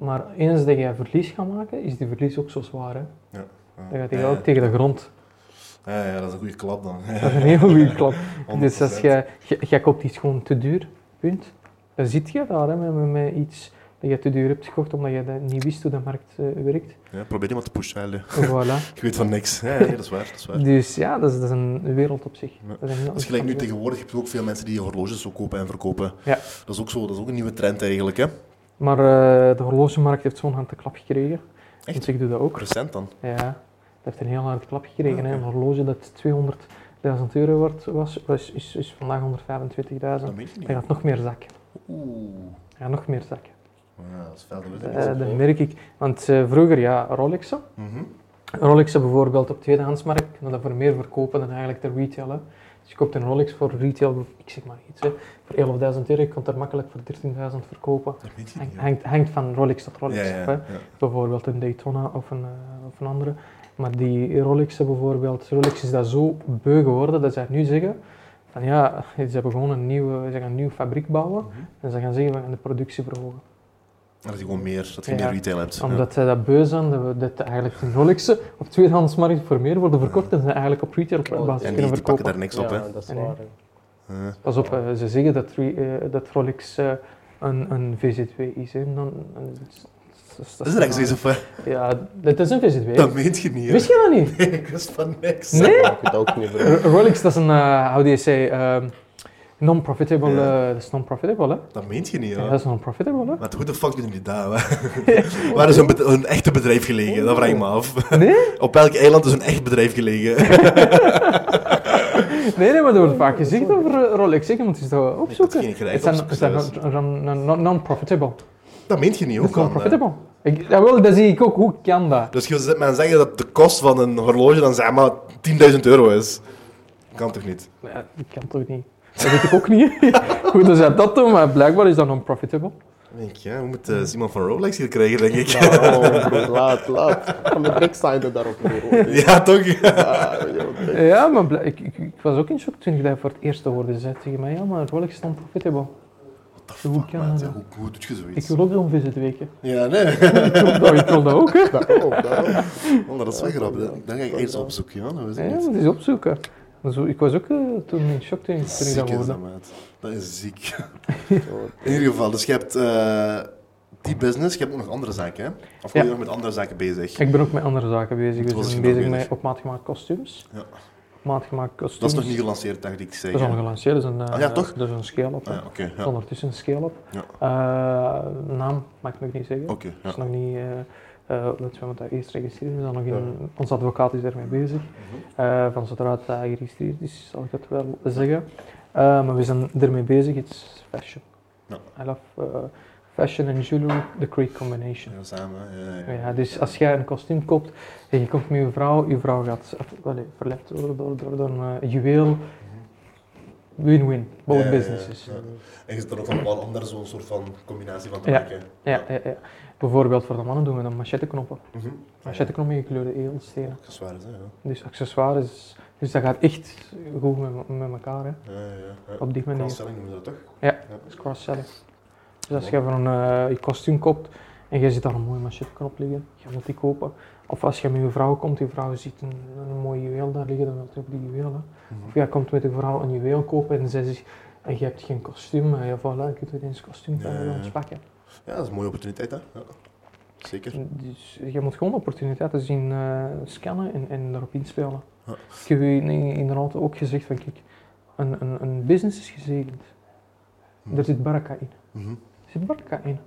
S3: Maar eens dat je verlies gaat maken, is die verlies ook zo zwaar. Hè.
S2: Ja.
S3: Dan gaat
S2: Ja,
S3: hij
S2: ja.
S3: ook tegen de grond.
S2: Ja, ja, dat is een goede klap dan.
S3: Dat is een heel goede klap.
S2: 100%.
S3: Dus als je, je, je koopt iets gewoon te duur, punt. Dan zit je daar hè, met, met, met iets dat je te duur hebt gekocht omdat je dat niet wist hoe de markt eh, werkt.
S2: Ja, probeer iemand te pushen. hè, Lu.
S3: Voilà.
S2: Je weet van niks. Ja, ja, dat is waar. Dat is waar.
S3: Dus ja, dat is, dat is een wereld op zich.
S2: Ja.
S3: Dat is een heel
S2: Dat is gelijk nu
S3: andere wereld.
S2: tegenwoordig. Heb je ook veel mensen die horloges zo kopen en verkopen.
S3: Ja.
S2: Dat is ook zo. Dat is ook een nieuwe trend eigenlijk. Hè.
S3: Maar eh, de horlogemarkt heeft zo'n hand de klap gekregen.
S2: Echt?
S3: Dus ik doe dat ook.
S2: Recent dan.
S3: Ja, dat heeft een heel hard klap gekregen. hè.
S2: Ja,
S3: Een horloge dat 200.000 euro wordt, was, was- is, is vandaag 125.000.
S2: Dat
S3: Dan
S2: weet je niet.
S3: gaat nog meer zakken.
S2: Oeh.
S3: Ja, nog meer zakken.
S2: Ja, dat is fel. Dat weet ik
S3: Eh,
S2: niet.
S3: dat merk ik. Want eh, vroeger, ja, Rolexen.
S2: Mhm.
S3: Rolexen bijvoorbeeld op tweedehandsmarkt kunnen dat voor meer verkopen dan eigenlijk ter retail. Hè. Dus je koopt een Rolex voor retail, ik zeg maar iets, hè, voor 11.000 euro. Je kunt er makkelijk voor 13.000 verkopen.
S2: Dat weet je
S3: Hang-
S2: niet. joh.
S3: Hangt, hangt van Rolex tot Rolex
S2: Ja, ja,
S3: af. Hè.
S2: ja.
S3: bijvoorbeeld een Daytona of een, eh, of een andere. Maar die Rolexen bijvoorbeeld, Rolex is daar zo beu geworden dat zij nu zeggen van ja, ze hebben gewoon een nieuwe, ze gaan een nieuwe fabriek bouwen
S2: Mhm.
S3: en ze gaan zeggen we gaan de productie verhogen.
S2: Dat je gewoon meer, dat je
S3: Ja.
S2: meer retail hebt. Ja.
S3: Omdat zij dat beu zijn, dat, we, dat eigenlijk de Rolexen op tweedehandsmarkt voor meer worden verkocht en ze eigenlijk op retailbasis
S2: En die,
S3: kunnen
S2: die pakken
S3: verkopen.
S2: daar niks op, hè?
S5: Ja, dat is waar. hè.
S2: Ja.
S3: Pas op, eh, ze zeggen dat, re- eh, dat Rolex eh, een, een VZW is. Hè. Dan, een- dat
S2: Dat is er echt zoiets of wat?
S3: Ja, dat is een VZW.
S2: Dat meent je niet, hè?
S3: Wist je dat niet?
S2: Nee, ik wist van niks.
S3: Nee?
S5: Ik weet ook niet
S3: R- Rolex, dat is een, eh how do you say, ehm, non-profitable,
S2: Ja.
S3: eh, dat is non-profitable, hè?
S2: Dat meent je niet,
S3: Ja,
S2: hoor.
S3: dat is non-profitable,
S2: Maar hoe de fuck doen jullie dat? hè? Waar is een, bed- een echte bedrijf gelegen? Dat vraag ik me af.
S3: hè? Nee?
S2: Op elk eiland is een echt bedrijf gelegen.
S3: Nee, nee, maar er wordt vaak gezegd over eh, Rolex, hè. je moet eens dat opzoeken.
S2: geen gelijk
S3: het zijn, het
S2: opzoeken,
S3: zijn
S2: zelfs.
S3: non- non- non- non- non-profitable.
S2: Dat meent je eh, niet
S3: Dat
S2: ook
S3: is
S2: aan. hè?
S3: non-profitable. Ik, jawel, dat zie ik ook, hoe kan dat?
S2: Dus je zit mij aan het zeggen dat de kost van een horloge dan zeg maar 10.000 euro is. Kan toch niet?
S3: Ja, dat kan toch niet? Dat weet ik ook niet. Goed, dus ja, dat doen, maar blijkbaar is dat non-profitable.
S2: Denk je, hè? we moeten eh, iemand van Rolex hier krijgen, denk ik.
S5: Nou, broer, laat, laat. Van de backside daarop weer. hoor.
S2: Ja, toch?
S5: Ah, joh,
S3: Ja, maar bl- ik, ik, ik was ook in shock toen ik dat voor het eerst hoorde. Ze zei tegen mij, ja, maar Rolex is non-profitable. Hoe
S2: Fuck,
S3: kan
S2: maat, ja,
S3: dat?
S2: hoe, hoe doet je
S3: Ik
S2: zoiets?
S3: wil ook zo'n visit weken.
S2: Ja, nee.
S3: Nou, ik wil dat ook, hè.
S5: daarop, daarop.
S2: Oh, dat is wel grappig. hè. Dan ga ik eerst opzoeken, ja. Dat wist ik
S3: Ja,
S2: niet.
S3: dat is opzoeken. Dus ik was ook eh, toen in shock toen, ik- toen ik
S2: Ziek
S3: dat
S2: is
S3: hoorde.
S2: dat, maat. Dat is ziek. In ieder geval, dus je hebt eh, die business, je hebt ook nog andere zaken, hè? Of ben je
S3: Ja.
S2: nog met andere zaken bezig?
S3: Ik ben ook met andere zaken bezig.
S2: was
S3: Dus ik
S2: je nog
S3: ben bezig
S2: bezig?
S3: met op maat gemaakt kostuums.
S2: Ja.
S3: Maat gemaakt kostuums.
S2: Dat is nog niet gelanceerd, dacht ik
S3: Dat is al
S2: zeggen.
S3: gelanceerd. Dat is een, eh,
S2: Ah, ja, toch?
S3: Dat is een scale-up. hè.
S2: Ah, ja, oké.
S3: Dat is
S2: ja.
S3: ondertussen een scale-up.
S2: Ja. Oh,
S3: Eh, naam mag ik nog niet zeggen.
S2: Oké,
S3: Dat is
S2: ja.
S3: nog niet... eh eh dat is want dat eerst registreren is, dan nog in,
S2: Ja. Mhm.
S3: ons advocaat is daarmee bezig. Eh, van zodra het eh, geregistreerd is, zal ik dat wel zeggen. Eh, maar we zijn ermee bezig, het is fashion.
S2: Ja.
S3: I love eh, fashion en jewelry, the great combination.
S2: Ja, samen. hè, Ja,
S3: Ja.
S2: ja.
S3: dus als jij een kostuum koopt en je komt met je vrouw, je vrouw gaat eh, welle, verleid worden door, door, door een eh, juweel, win-win,
S2: Mhm. Ja,
S3: both
S2: ja, ja,
S3: businesses.
S2: ja. En je zit er ook nog wel onder zo'n soort van combinatie van te
S3: Ja.
S2: maken.
S3: Ja, ja, ja. Bijvoorbeeld voor de mannen doen we dan macheteknoppen.
S2: Mhm.
S3: Macheteknoppen gekleurde edelstenen.
S2: Dat is waar, hè, ja.
S3: Dus accessoires. Dus dat gaat echt goed met, met elkaar. Hè.
S2: Ja, ja, ja. ja.
S3: Op die manier.
S2: Cross-selling noemen ze dat toch?
S3: Dat is cross-selling. Dus als je voor een eh, je kostuum koopt en je ziet daar een mooie machetknop liggen, je moet die kopen. Of als je met je vrouw komt, je vrouw ziet een, een mooi juweel daar liggen, dan wil je ook die juweel. Hè. Of jij komt met je vrouw een juweel kopen en zij zegt, en je hebt geen kostuum, eh, ja voilà, je kunt weer eens kostuum
S2: Ja, ja,
S3: bij
S2: ja.
S3: ons pakken.
S2: Ja, dat is een mooie opportuniteit, hè? Ja. Zeker.
S3: Dus je moet gewoon opportuniteiten zien eh, scannen en, en erop inspelen.
S2: Ja.
S3: Ik heb u in- in- inderdaad ook gezegd van kijk, een, een, een business is gezegend.
S2: Hm.
S3: Daar zit baraka in.
S2: Mhm.
S3: Er zit baraka in.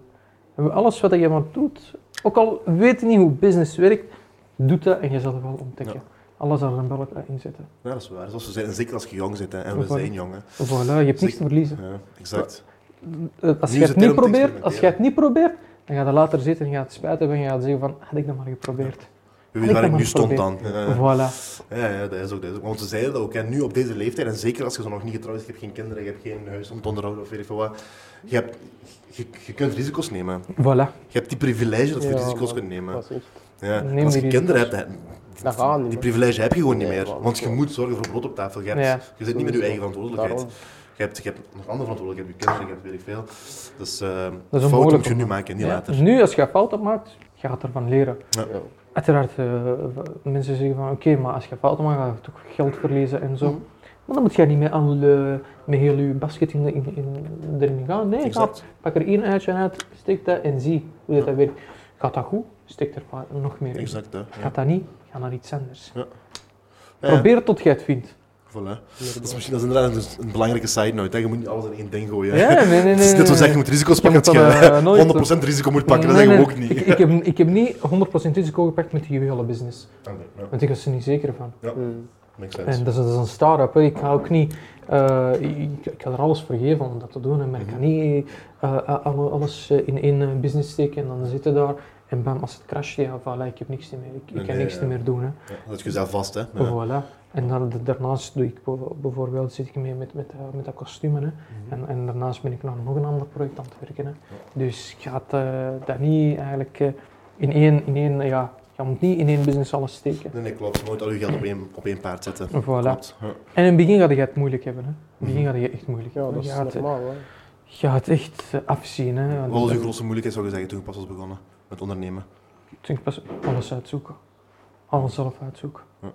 S3: En alles wat je maar doet, ook al weet je niet hoe business werkt, doet dat en je zal het wel ontdekken.
S2: Ja.
S3: Alles zal er een baraka in zetten.
S2: Ja, dat is waar. Zoals ze zeiden, zeker als je jong zit, hè. En we
S3: Voilà.
S2: zijn jong, hè.
S3: Voilà, je hebt niks
S2: Zeker.
S3: te verliezen.
S2: Ja, exact.
S3: Eh, Als
S2: Nu
S3: je
S2: is
S3: het
S2: het
S3: niet
S2: heel om te
S3: probeert, als je het
S2: experimenteren.
S3: niet probeert, dan ga je later zitten en je gaat het spijt hebben en je gaat zeggen van, had ik dat maar geprobeerd.
S2: Je
S3: Ik
S2: weet waar
S3: kan
S2: ik nu
S3: maar
S2: stond dan.
S3: proberen.
S2: Ja, ja.
S3: Voilà.
S2: Ja, ja, dat is ook. Dat is ook. Want ze zeiden dat ook. En nu op deze leeftijd, en zeker als je zo nog niet getrouwd is, je hebt geen kinderen, je hebt geen huis om te onderhouden of weet ik veel wat. Je, hebt, je, je kunt risico's nemen.
S3: Voilà.
S2: Je hebt die privilege dat je
S5: Ja,
S2: risico's
S5: man.
S2: kunt nemen.
S5: Dat is echt-
S2: Ja.
S3: Neem
S2: Als je
S3: die
S2: kinderen hebt, dan-
S5: Dat gaat niet
S2: die
S5: meer.
S2: privilege heb je gewoon niet
S5: Nee,
S2: meer.
S5: man.
S2: Want je moet zorgen voor brood op tafel. Je, hebt,
S3: Ja.
S2: je zit niet met je eigen
S5: Daarom.
S2: verantwoordelijkheid. Je hebt, je hebt nog andere verantwoordelijkheid. Je hebt je kinderen, je hebt weet ik veel. Dus eh
S3: Dat is een
S2: fouten moet
S3: moeilijke
S2: je nu
S3: man.
S2: maken, niet
S3: Ja,
S2: later.
S3: Nu, als je fouten maakt, je gaat ervan leren.
S5: Ja.
S3: Uiteraard, eh, v- mensen zeggen van oké, maar als je fouten maakt, ga je toch geld verliezen en
S2: Mhm.
S3: zo. Maar dan moet je niet met, al, eh, met heel je basket in, de- in, in- erin gaan. Nee, ga,
S2: Exact.
S3: pak er één uitje uit, steek dat en zie hoe dat, dat werkt. Gaat dat goed, steek er pa- nog meer in.
S2: Exact, hè. Ja. Eh.
S3: Gaat dat niet, ga naar iets anders.
S2: Ja, ja.
S3: Probeer tot je het vindt.
S2: Voilà. Dat is misschien dat is inderdaad een, een belangrijke side note. Hè. Je moet niet alles in één ding gooien.
S3: Ja, nee, nee, nee.
S2: Het is net
S3: nee,
S2: zoals zeggen, je
S3: nee.
S2: moet risico's
S3: Je
S2: pakken.
S3: moet
S2: dat
S3: dat,
S2: je
S3: eh, nooit-
S2: 100% risico moet pakken,
S3: Nee,
S2: dat zeggen we
S3: nee.
S2: ook niet.
S3: Ik, ik, heb, ik heb niet 100% risico gepakt met die juwelenbusiness.
S2: Ah, nee, ja,
S3: Want ik was er niet zeker van.
S5: Mm.
S2: Makes sense.
S3: En dat is, dat is een start-up. hè. Ik ga ook niet. eh, ik, ik ga er alles voor geven om dat te doen. hè. Maar ik
S2: Mhm.
S3: kan niet eh, eh, alle- alles eh, in één eh, business steken en dan zitten daar. En bam, als het crasht, ja, voilà, ik heb niks meer. Ik, ik
S2: Nee,
S3: kan
S2: nee,
S3: niks
S2: ja.
S3: meer doen. Hè.
S2: Ja, dat is jezelf vast, hè. Ja.
S3: Voilà. En dan, daarnaast doe ik bijvo- bijvoorbeeld, zit ik mee met, met, eh, met dat kostuum.
S2: Mhm.
S3: Hè. En, en daarnaast ben ik nog, nog een ander project aan het werken. Hè. Dus je gaat eh, dat niet eigenlijk eh, in één, in één ja, je moet niet in één business alles steken.
S2: Nee, nee, klopt. Nooit al je geld op één, op één paard zetten.
S3: Voilà.
S2: Klopt. Ja.
S3: En in het begin ga je het moeilijk hebben. Hè. In het begin ga je echt moeilijk
S5: Ja,
S3: hebben.
S5: dat is
S3: Je gaat, eh,
S5: normaal. Hè.
S3: Je gaat echt eh, afzien. Hè. Want
S2: Wat was
S3: dat-
S2: je grootste moeilijkheid, zou je zeggen, toen je pas was begonnen met ondernemen?
S3: Toen ik pas alles uitzoeken. Alles zelf uitzoeken.
S2: Ja.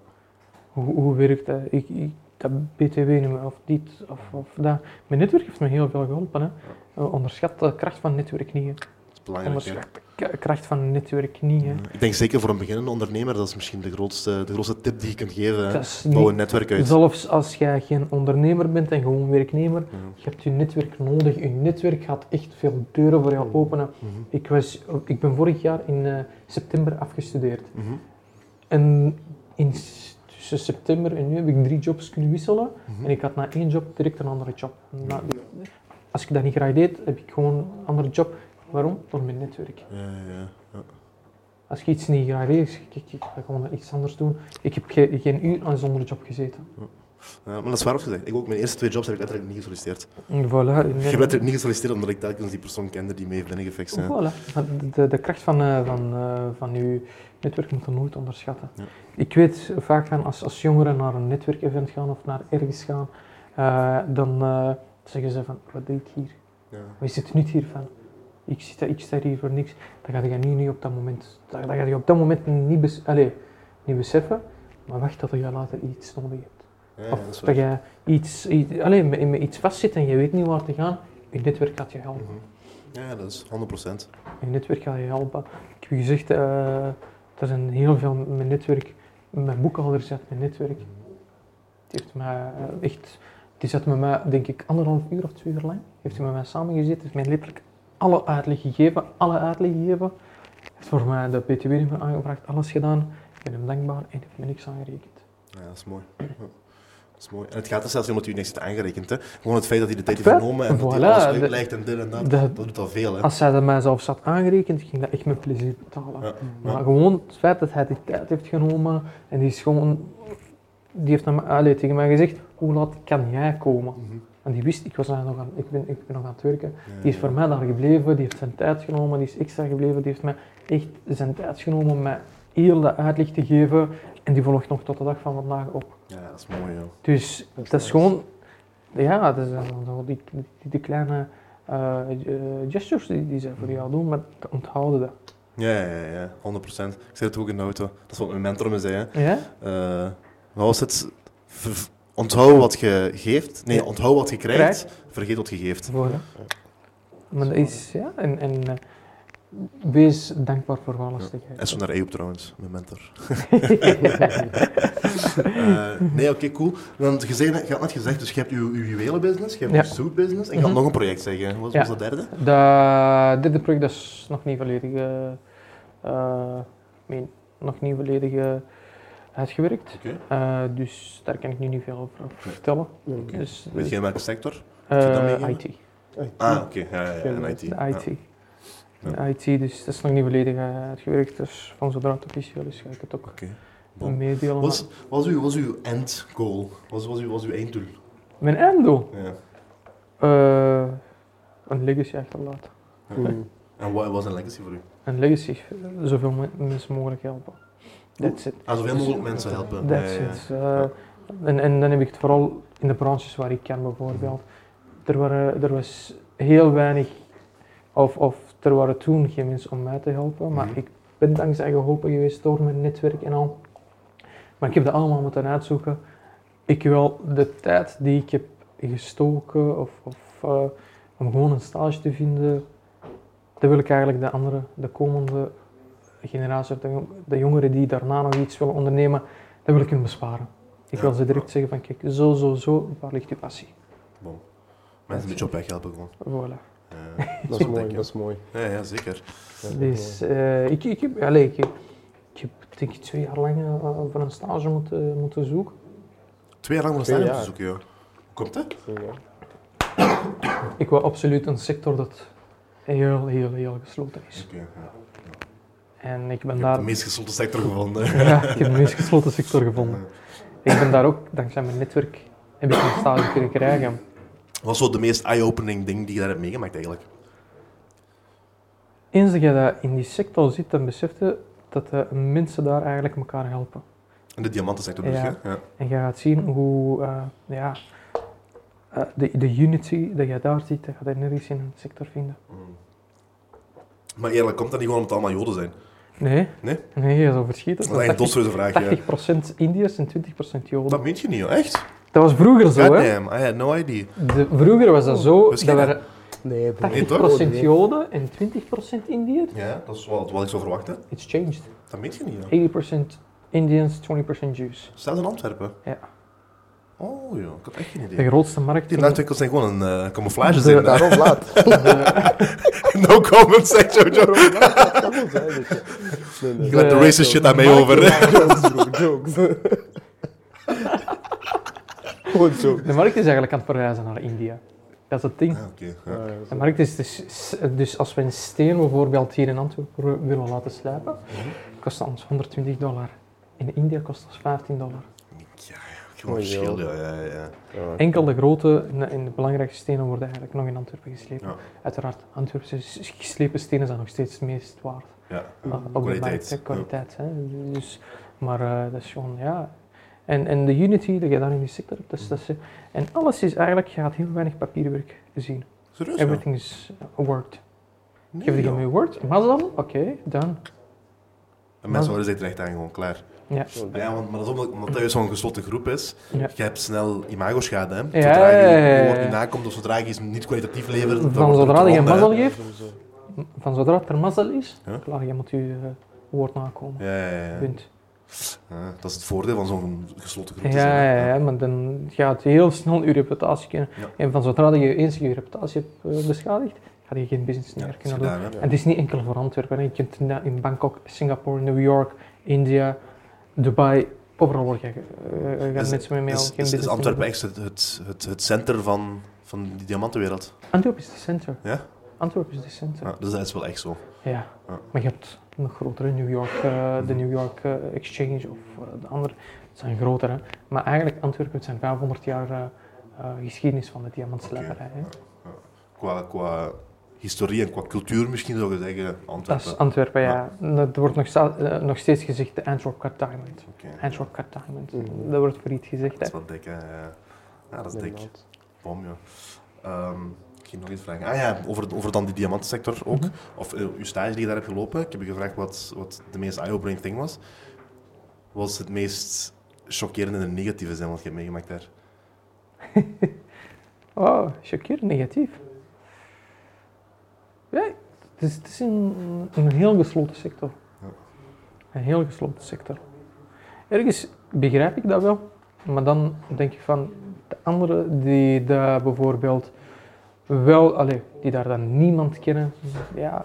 S3: Hoe, hoe werkt dat? Ik, ik, dat BTW-nummer of dit of, of dat. Mijn netwerk heeft me heel veel geholpen. Hè. Eh, Onderschat de kracht van netwerk niet. hè.
S2: Dat is belangrijk. hè.
S3: Onderschat de k- kracht van netwerk niet. Hè.
S2: Ik denk zeker voor een beginnende ondernemer, dat is misschien de grootste, de grootste tip die je kunt geven. hè.
S3: Dat is
S2: Bouw
S3: niet,
S2: een netwerk uit.
S3: zelfs als jij geen ondernemer bent en gewoon werknemer,
S2: Ja.
S3: je hebt je netwerk nodig. Je netwerk gaat echt veel deuren voor jou openen.
S2: Mhm.
S3: Ik, was, ik ben vorig jaar in eh, september afgestudeerd.
S2: Mhm.
S3: En in, s- tussen september en nu heb ik drie jobs kunnen wisselen.
S2: Mhm.
S3: En ik had na één job direct een andere job. Na- als ik dat niet graag deed, heb ik gewoon een andere job. Waarom? Door mijn netwerk.
S2: Ja, ja, ja. Ja.
S3: Als je iets niet graag deed, zeg ik, ik, ik ga gewoon iets anders doen. Ik heb ge- geen uur aan zonder job gezeten.
S2: Ja, maar dat is waar opgezegd. Ik ook, mijn eerste twee jobs heb ik letterlijk niet gesolliciteerd.
S3: En Voilà.
S2: Ik heb letterlijk niet gesolliciteerd omdat ik telkens die persoon kende die mee heeft binnengefixt. hè.
S3: Voilà. De, de, de kracht van, eh, van, eh, van uw netwerk moet je nooit onderschatten.
S2: Ja.
S3: Ik weet vaak van als, als jongeren naar een netwerkevent gaan of naar ergens gaan, eh, dan eh, zeggen ze van, wat doe ik hier?
S2: Ja.
S3: Wat is het nut hiervan? Ik, zit, ik sta hier voor niks. Dat ga je nu niet op dat moment, dat, dat ga je op dat moment niet, bes- allee, niet beseffen, maar wacht tot je later iets nodig hebt.
S2: Ja, ja,
S3: Of
S2: dat is
S3: dat,
S2: waar.
S3: je iets, iets, allee, met, met iets vastzit en je weet niet waar te gaan, je netwerk gaat je helpen.
S2: Mhm. Ja, dat is 100%.
S3: Mijn netwerk gaat je helpen. Ik heb je gezegd, eh er zijn heel veel mijn netwerk, mijn boekhouder zat mijn netwerk. Het heeft mij eh, echt, die zat met mij denk ik anderhalf uur of twee uur lang, heeft hij met mij samengezeten, heeft mij letterlijk alle uitleg gegeven, alle uitleg gegeven. Heeft voor mij de PTW-nummer aangevraagd, alles gedaan. Ik ben hem dankbaar en heeft me niks aangerekend.
S2: Ja, dat is mooi. Ja. Dat is mooi. En het gaat er zelfs niet om dat u niks heeft aangerekend. Hè. Gewoon het feit dat hij de tijd
S3: Het
S2: heeft
S3: feit-
S2: genomen en dat hij
S3: voilà,
S2: alles
S3: de-
S2: uitlegt en dit en dat.
S3: de- Ah,
S2: dat doet al veel. Hè.
S3: Als hij dat mij zelfs had aangerekend, ging dat echt met plezier betalen.
S2: Ja.
S3: Maar gewoon het feit dat hij die tijd heeft genomen en die is gewoon, die heeft naar mij, allee, tegen mij gezegd, hoe laat kan jij komen?
S2: Mhm.
S3: En die wist, ik, was daar nog aan, ik, ben, ik ben nog aan het werken.
S2: Ja,
S3: Die is
S2: ja.
S3: voor mij daar gebleven, die heeft zijn tijd genomen, die is extra gebleven, die heeft mij echt zijn tijd genomen om mij heel de uitleg te geven. En die volgt nog tot de dag van vandaag op.
S2: Ja, dat is mooi. joh.
S3: Dus
S5: Dat is
S3: dat is
S5: nice.
S3: gewoon, ja, dat zijn dan zo die, die, die kleine eh, eh, gestures die, die zij voor jou doen, maar te onthouden dat.
S2: Ja, ja, ja, ja, 100%. Ik zei het ook in de auto. Dat is wat mijn mentor me zei. Hè.
S3: Ja?
S2: Eh, wat was het? Ver- ver- onthoud wat je geeft. Nee,
S3: Ja.
S2: onthoud wat je krijgt. Vergeet wat je geeft.
S3: Voilà. Maar dat is, ja, en, en eh, wees dankbaar voor wat alles te
S2: En zo
S3: geven.
S2: naar Eop trouwens, mijn mentor. Eh, nee, oké, cool. Want je, zei, net- je had net gezegd, dus je hebt uw, uw juwelenbusiness, je hebt
S3: Ja.
S2: uw zoetbusiness. En je had
S3: Mhm.
S2: nog een project zeggen. Wat was,
S3: Ja.
S2: was dat derde?
S3: Dat derde project dat is nog niet volledig, eh, eh, ik meen, nog niet volledig eh, uitgewerkt.
S2: Oké.
S3: Eh, dus daar kan ik nu niet veel over over vertellen.
S5: Oké.
S3: Dus,
S2: Weet je in welke sector?
S3: eh,
S2: je dat meegeven?
S3: IT.
S2: Ah, oké. Ja, ja, ja, in IT.
S3: De IT.
S2: Ja. Ja.
S3: De IT, dus dat is nog niet volledig eh, uitgewerkt. Dus van zodra het officieel is, ga ik het ook
S2: Oké. Bon.
S3: meedelen.
S2: Wat was, was, uw, was uw endgoal? Wat was, uw, was uw einddoel?
S3: Maar Mijn einddoel?
S2: Ja.
S3: Eh, een legacy achterlaten.
S5: Mm.
S2: En wat was een legacy voor u?
S3: Een legacy, eh, zoveel men- mensen mogelijk helpen. That's it.
S2: Ah, zoveel mogelijk mensen helpen.
S3: That's
S2: Ja, ja, ja.
S3: it. Eh, en, en dan heb ik het vooral in de branches waar ik ken bijvoorbeeld. Er, waren, er was heel weinig, of, of er waren toen geen mensen om mij te helpen, maar
S2: Mhm.
S3: ik ben dankzij geholpen geweest door mijn netwerk en al. Maar ik heb dat allemaal moeten uitzoeken. Ik wil de tijd die ik heb gestoken of, of eh, om gewoon een stage te vinden, dat wil ik eigenlijk de andere, de komende generatie, of de, jong- de jongeren die daarna nog iets willen ondernemen, dat wil ik hun besparen. Ik
S2: Ja.
S3: wil ze direct zeggen van kijk, zo, zo, zo, waar ligt uw passie?
S2: Bon. Mensen een beetje op weg helpen gewoon.
S3: Voilà.
S2: Eh,
S5: Dat is
S2: denk
S5: mooi,
S2: ik.
S5: dat is mooi.
S2: ja, ja, zeker.
S5: Dat is
S3: Dus eh, ik, ik, heb, allez, ik, ik heb denk ik twee jaar lang eh, voor een stage moeten, moeten zoeken.
S2: Twee jaar lang
S5: Twee
S2: staan op te
S5: jaar.
S2: zoeken, joh. Hoe Komt dat?
S5: mooi. Ja.
S3: Ik wil absoluut een sector dat heel, heel, heel gesloten is.
S2: Oké. ja.
S3: En ik ben
S2: Ik heb
S3: daar...
S2: de meest gesloten sector gevonden.
S3: Ja, ik heb de meest gesloten sector gevonden. Ik ben daar ook, dankzij mijn netwerk, heb ik een stage kunnen krijgen.
S2: Wat was zo de meest eye-opening ding die je daar hebt meegemaakt eigenlijk?
S3: Eens dat je dat in die sector zit, dan besef je dat de mensen daar eigenlijk elkaar helpen.
S2: In de diamantensector dus,
S3: Ja.
S2: hè? Ja.
S3: En je gaat zien hoe eh, ja, eh, de, de unity dat je daar ziet, dat gaat je nergens in een sector vinden.
S2: Mm. Maar eerlijk, komt dat niet gewoon omdat het allemaal joden zijn?
S3: Nee.
S2: Nee? eh.
S3: Nee, je zou verschieten.
S2: Dat is eigenlijk een dodsreuze vraag, ja.
S3: 80% Indiërs en 20% Joden.
S2: Dat meent je niet, joh. Echt?
S3: Dat was vroeger zo, hè?
S2: Goddamn, I had no idea.
S3: De, vroeger was dat zo, dat
S2: misschien
S3: waren
S1: Nee,
S3: 80%
S2: Nee, toch?
S3: Joden en 20% Indiërs.
S2: Ja, dat is wel wat ik zou verwachten.
S3: It's changed.
S2: Dat weet je niet. ja.
S3: 80% Indians, 20% Jews.
S2: Zelfs in Antwerpen.
S3: Ja.
S2: Oh joh, ik had echt geen idee.
S3: De grootste markt
S2: Die
S3: in
S2: nachtwinkels zijn gewoon een eh camouflage.
S3: De-
S2: Zijn, eh.
S5: Dus, Daarom laat.
S2: no comment, zegt Jojo.
S5: Daarom laat. Dat wil zijn, weet je. Nee, nee.
S2: Je laat de
S3: De-
S2: racist shit aan mij
S3: Mark-
S2: over. hè.
S5: Jokes, bro, jokes. Gewoon jokes.
S3: de markt is eigenlijk aan het verhuizen naar India. Dat is het ding.
S2: Ah, Oké, ja.
S5: Ja, ja,
S3: De
S5: zo.
S3: markt is dus, dus als we een steen bijvoorbeeld hier in Antwerpen willen laten slijpen,
S2: Mhm.
S3: kost dat ons 120 dollar. In India kost dat 15 dollar.
S2: Ja,
S5: Oh,
S2: gewoon verschil, ja,
S5: joh.
S2: ja, ja.
S5: Ja.
S3: Enkel de grote en- en de belangrijkste stenen worden eigenlijk nog in Antwerpen geslepen.
S2: Ja.
S3: Uiteraard, Antwerpse s- geslepen stenen zijn nog steeds het meest waard.
S2: ja.
S3: Op de markt,
S2: Kwaliteit.
S3: hè, kwaliteit. Hè. Dus, maar eh, dat is gewoon, ja. En, en de unity dat je daar in die sector hebt, dat is, dat is- en alles is eigenlijk, je gaat heel weinig papierwerk zien.
S2: Serieus? joh?
S3: Everything is eh, word.
S2: Nee,
S3: Geef die
S2: joh.
S3: mee word, mazzel, oké, done.
S2: En mensen worden zich terecht aan, gewoon klaar.
S3: Ja.
S2: Ja, want, maar dat is omdat, omdat dat juist zo'n gesloten groep is.
S3: Ja.
S2: Je hebt snel imago-schade. Hè?
S3: Ja,
S2: Zodra je
S3: ja, ja, ja.
S2: een woord niet nakomt of zodra je iets niet kwalitatief levert. dan
S3: Van
S2: wordt het
S3: zodra je
S2: een
S3: mazzel
S2: ander,
S3: geeft, van zodra het er mazzel is,
S2: Ja.
S3: klaar, je moet je eh, woord nakomen.
S2: hè. Ja, ja, ja, ja.
S3: Punt.
S2: Ja, Dat is het voordeel van zo'n gesloten groep. te
S3: Ja,
S2: zijn, hè.
S3: ja, ja, maar dan gaat heel snel je reputatie kunnen.
S2: Ja.
S3: En van zodra dat je eens je reputatie hebt eh, beschadigd, ga je geen business
S2: Ja,
S3: meer
S2: dat is
S3: kunnen doen.
S2: gedaan, hè.
S3: En het is niet enkel voor Antwerpen. hè. Je kunt na- in Bangkok, Singapore, New York, India, Dubai, overal word je, eh, gaan
S2: Is-
S3: mensen mee mee al
S2: Is,
S3: geen
S2: is,
S3: business
S2: is
S3: meer
S2: Antwerpen
S3: doen.
S2: echt het, het, het, het center van, van die diamantenwereld?
S3: Antwerpen is de center.
S2: Ja?
S3: Antwerpen is de center.
S2: ja? Dus dat is wel echt zo.
S3: Ja.
S2: Ja.
S3: Maar je hebt nog grotere New York, eh, de New York eh, Exchange of eh, de andere. Het zijn grotere. hè. Maar eigenlijk Antwerpen het zijn 500 jaar eh, eh, geschiedenis van de diamantslijperij. hè.
S2: Qua, qua historie en qua cultuur misschien zou je zeggen
S3: Dat
S2: Antwerpen.
S3: is Antwerpen, ja. Dat wordt nog, sta- eh, nog steeds gezegd de Antwerp Cut Diamond.
S2: Oké.
S3: Antwerp Cut Diamond.
S5: Mhm.
S3: Dat wordt voor iets gezegd,
S2: Dat
S3: hè.
S2: is wat dik, hè. Ja, Ja, dat is dik.
S5: Inderdaad.
S2: Bom, ja. Ehm, ik ging nog iets vragen. Ah ja, over, over dan die diamantsector ook.
S3: Mhm.
S2: Of eh, uw stage die je daar hebt gelopen. Ik heb je gevraagd wat, wat de meest eye-opening thing was. Was het meest chockerende en negatieve zijn wat je hebt meegemaakt daar?
S3: Oh, choqueer, negatief. Ja, het is, het is een, een heel gesloten sector.
S2: Ja.
S3: Een heel gesloten sector. Ergens begrijp ik dat wel, maar dan denk ik van de anderen die daar bijvoorbeeld wel, allee, die daar dan niemand kennen, ja,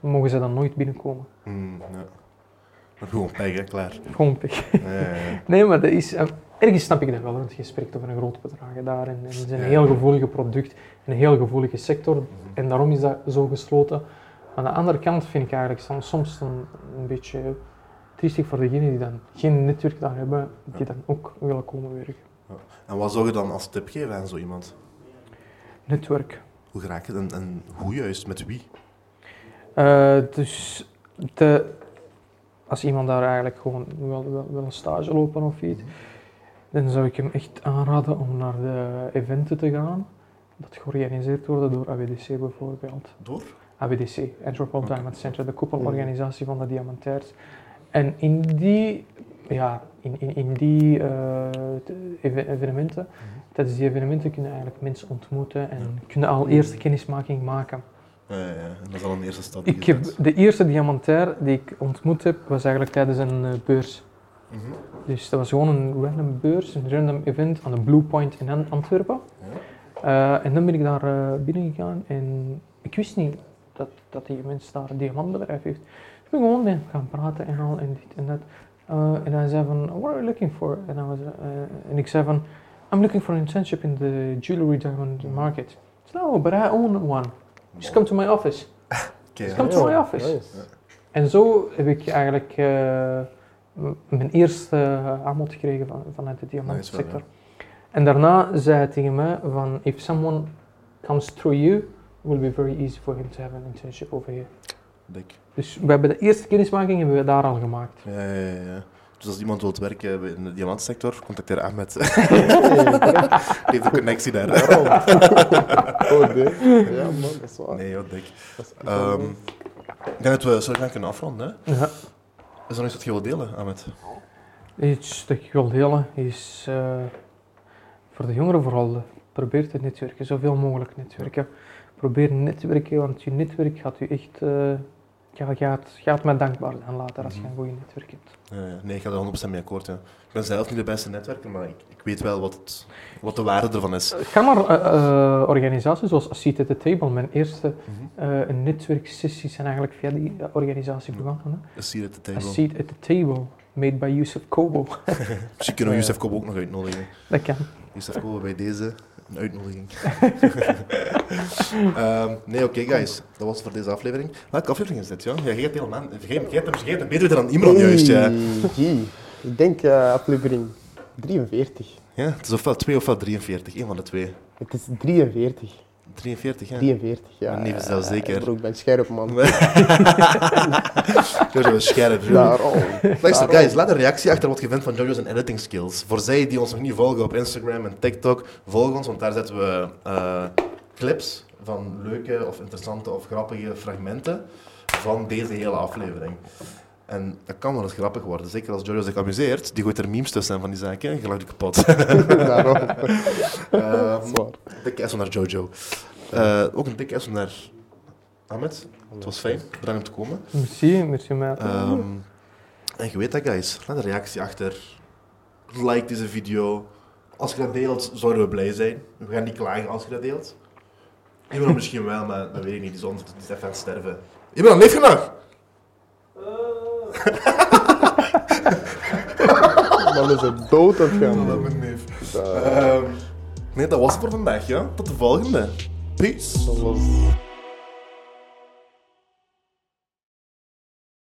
S3: mogen ze dan nooit binnenkomen.
S2: Hmm, ja. Maar gewoon pech, hè, klaar.
S3: Gewoon pech.
S2: Ja, ja, ja.
S3: Nee, maar dat is, eh, ergens snap ik dat wel, want je spreekt over een groot bedrag hè, daar. En, en het is een
S2: Ja. Mhm.
S3: heel gevoelige product, een heel gevoelige sector. En daarom is dat zo gesloten. Aan de andere kant vind ik eigenlijk dan soms een, een beetje triestig voor degenen die dan geen netwerk daar hebben, die dan ook willen komen werken.
S2: En wat zou je dan als tip geven aan zo iemand?
S3: Netwerk.
S2: Hoe raak je het en, en hoe juist? Met wie?
S3: Eh, dus de, als iemand daar eigenlijk gewoon wil, wil, wil een stage lopen of iets, dan zou ik hem echt aanraden om naar de eventen te gaan. Dat georganiseerd worden door AWDC bijvoorbeeld.
S2: Door?
S3: AWDC, Antwerpal Diamond Center, de koepelorganisatie van de diamantairs. En in die, ja, in, in, in die eh, de even- evenementen, tijdens die evenementen kunnen eigenlijk mensen ontmoeten en kunnen al eerste kennismaking maken.
S2: Ja, ja, ja. En dat is al een eerste stap. die
S3: Ik
S2: je
S3: heb,
S2: zet.
S3: de eerste diamantair die ik ontmoet heb, was eigenlijk tijdens een eh, beurs.
S2: Mhm.
S3: Dus dat was gewoon een random beurs, een random event aan de Blue Point in An- Antwerpen. Eh, en dan ben ik daar eh binnengegaan en ik wist niet dat, dat die mens daar een diamantbedrijf heeft. Dus ik ben gewoon met hem gaan praten en al en dit en dat. Eh, en hij zei van, what are you looking for? En, I was, eh, en ik zei van, I'm looking for an internship in the jewelry diamond market. He said, no, but I own one. Just come to my office.
S2: Oké, ja.
S3: Kom to my
S5: Ja,
S3: office.
S5: nice.
S3: En zo heb ik eigenlijk eh, m- mijn eerste eh, aanbod gekregen van, vanuit de diamantsector.
S2: Nice
S3: En daarna zei hij tegen mij van, if someone comes through you, it will be very easy for him to have an internship over here.
S2: Dik.
S3: Dus we hebben de eerste kennismaking hebben we daar al gemaakt.
S2: Ja, ja, ja, ja. Dus als iemand wilt werken in de diamantsector, contacteer Ahmed. Die heeft een connectie daar.
S5: Daarom. Oh, dit. Ja, man, dat is waar.
S2: Nee, wat dik.
S5: Dat is echt wel
S2: Ehm,
S5: nice.
S2: ik denk dat we zo gaan kunnen afronden. Hè?
S3: Ja.
S2: Is er nog iets wat je wilt delen, Ahmed?
S3: Iets dat ik wil delen is, eh, voor de jongeren vooral, eh, probeer te netwerken, zoveel mogelijk netwerken. Probeer netwerken, want je netwerk gaat je echt, eh, ja, gaat, gaat mij dankbaar zijn later als je
S2: Mhm.
S3: een goede netwerk hebt.
S2: Ja, ja. Eh, nee, ik ga er 100% mee akkoord. Ja. Ik ben zelf niet de beste netwerker, maar ik, ik weet wel wat, het, wat de waarde ervan is.
S3: Kan er eh, eh, organisaties zoals Seat at the Table, mijn eerste
S2: Mhm.
S3: eh netwerksessies zijn eigenlijk via die eh, organisatie begonnen.
S2: Een seat at the
S3: hè. A
S2: table.
S3: Seat at the Table, made by Yusuf Kobo.
S2: Misschien kunnen we Youssef Kobo ook nog uitnodigen.
S3: Dat kan.
S2: Youssef Kobo bij deze, een uitnodiging. Ehm, nee, oké guys, dat was het voor deze aflevering. Welke aflevering is dit, ja? Jij gaat helemaal... Jij jij hebt hem- jij hebt hem beter dan Imran juist, ja.
S5: Oei, Ik denk eh, aflevering 43.
S2: ja. Het is ofwel 2 ofwel 43, één van de twee.
S5: Het is 43.
S2: 43, ja.
S5: 43, ja.
S2: Mijn neef is dat
S5: Eh,
S2: zeker.
S5: Bro, ik ben scherp, man.
S2: Jojo is scherp, joh.
S5: Daarom.
S2: Luister,
S5: Daarom.
S2: guys, laat een reactie achter wat je vindt van JoJo's en editing skills. Voor zij die ons nog niet volgen op Instagram en TikTok, volg ons, want daar zetten we eh, clips van leuke of interessante of grappige fragmenten van deze hele aflevering. En dat kan wel eens grappig worden, zeker als Jojo zich amuseert. Die gooit er memes tussen en van die zaken en je lacht je kapot.
S5: Daarom.
S2: Ehm,
S5: Zwaar.
S2: dikke S naar Jojo. Eh, ook een dikke S naar Ahmed. Het was fijn, bedankt om te komen.
S3: Merci, merci mij.
S2: Ehm, en je weet dat, guys. Laat een reactie achter. Like deze video. Als je dat deelt, zouden we blij zijn. We gaan niet klagen als je dat deelt. Iemand misschien wel, maar dat weet ik niet. Die is, onder, die is even aan het sterven. Iemand, leef je nog?
S5: Dan is het dood aan het gaan.
S2: Dat
S5: bro.
S2: mijn neef.
S5: Dat
S2: Ehm, nee, dat was het voor vandaag, ja. Tot de volgende. Peace.
S5: was...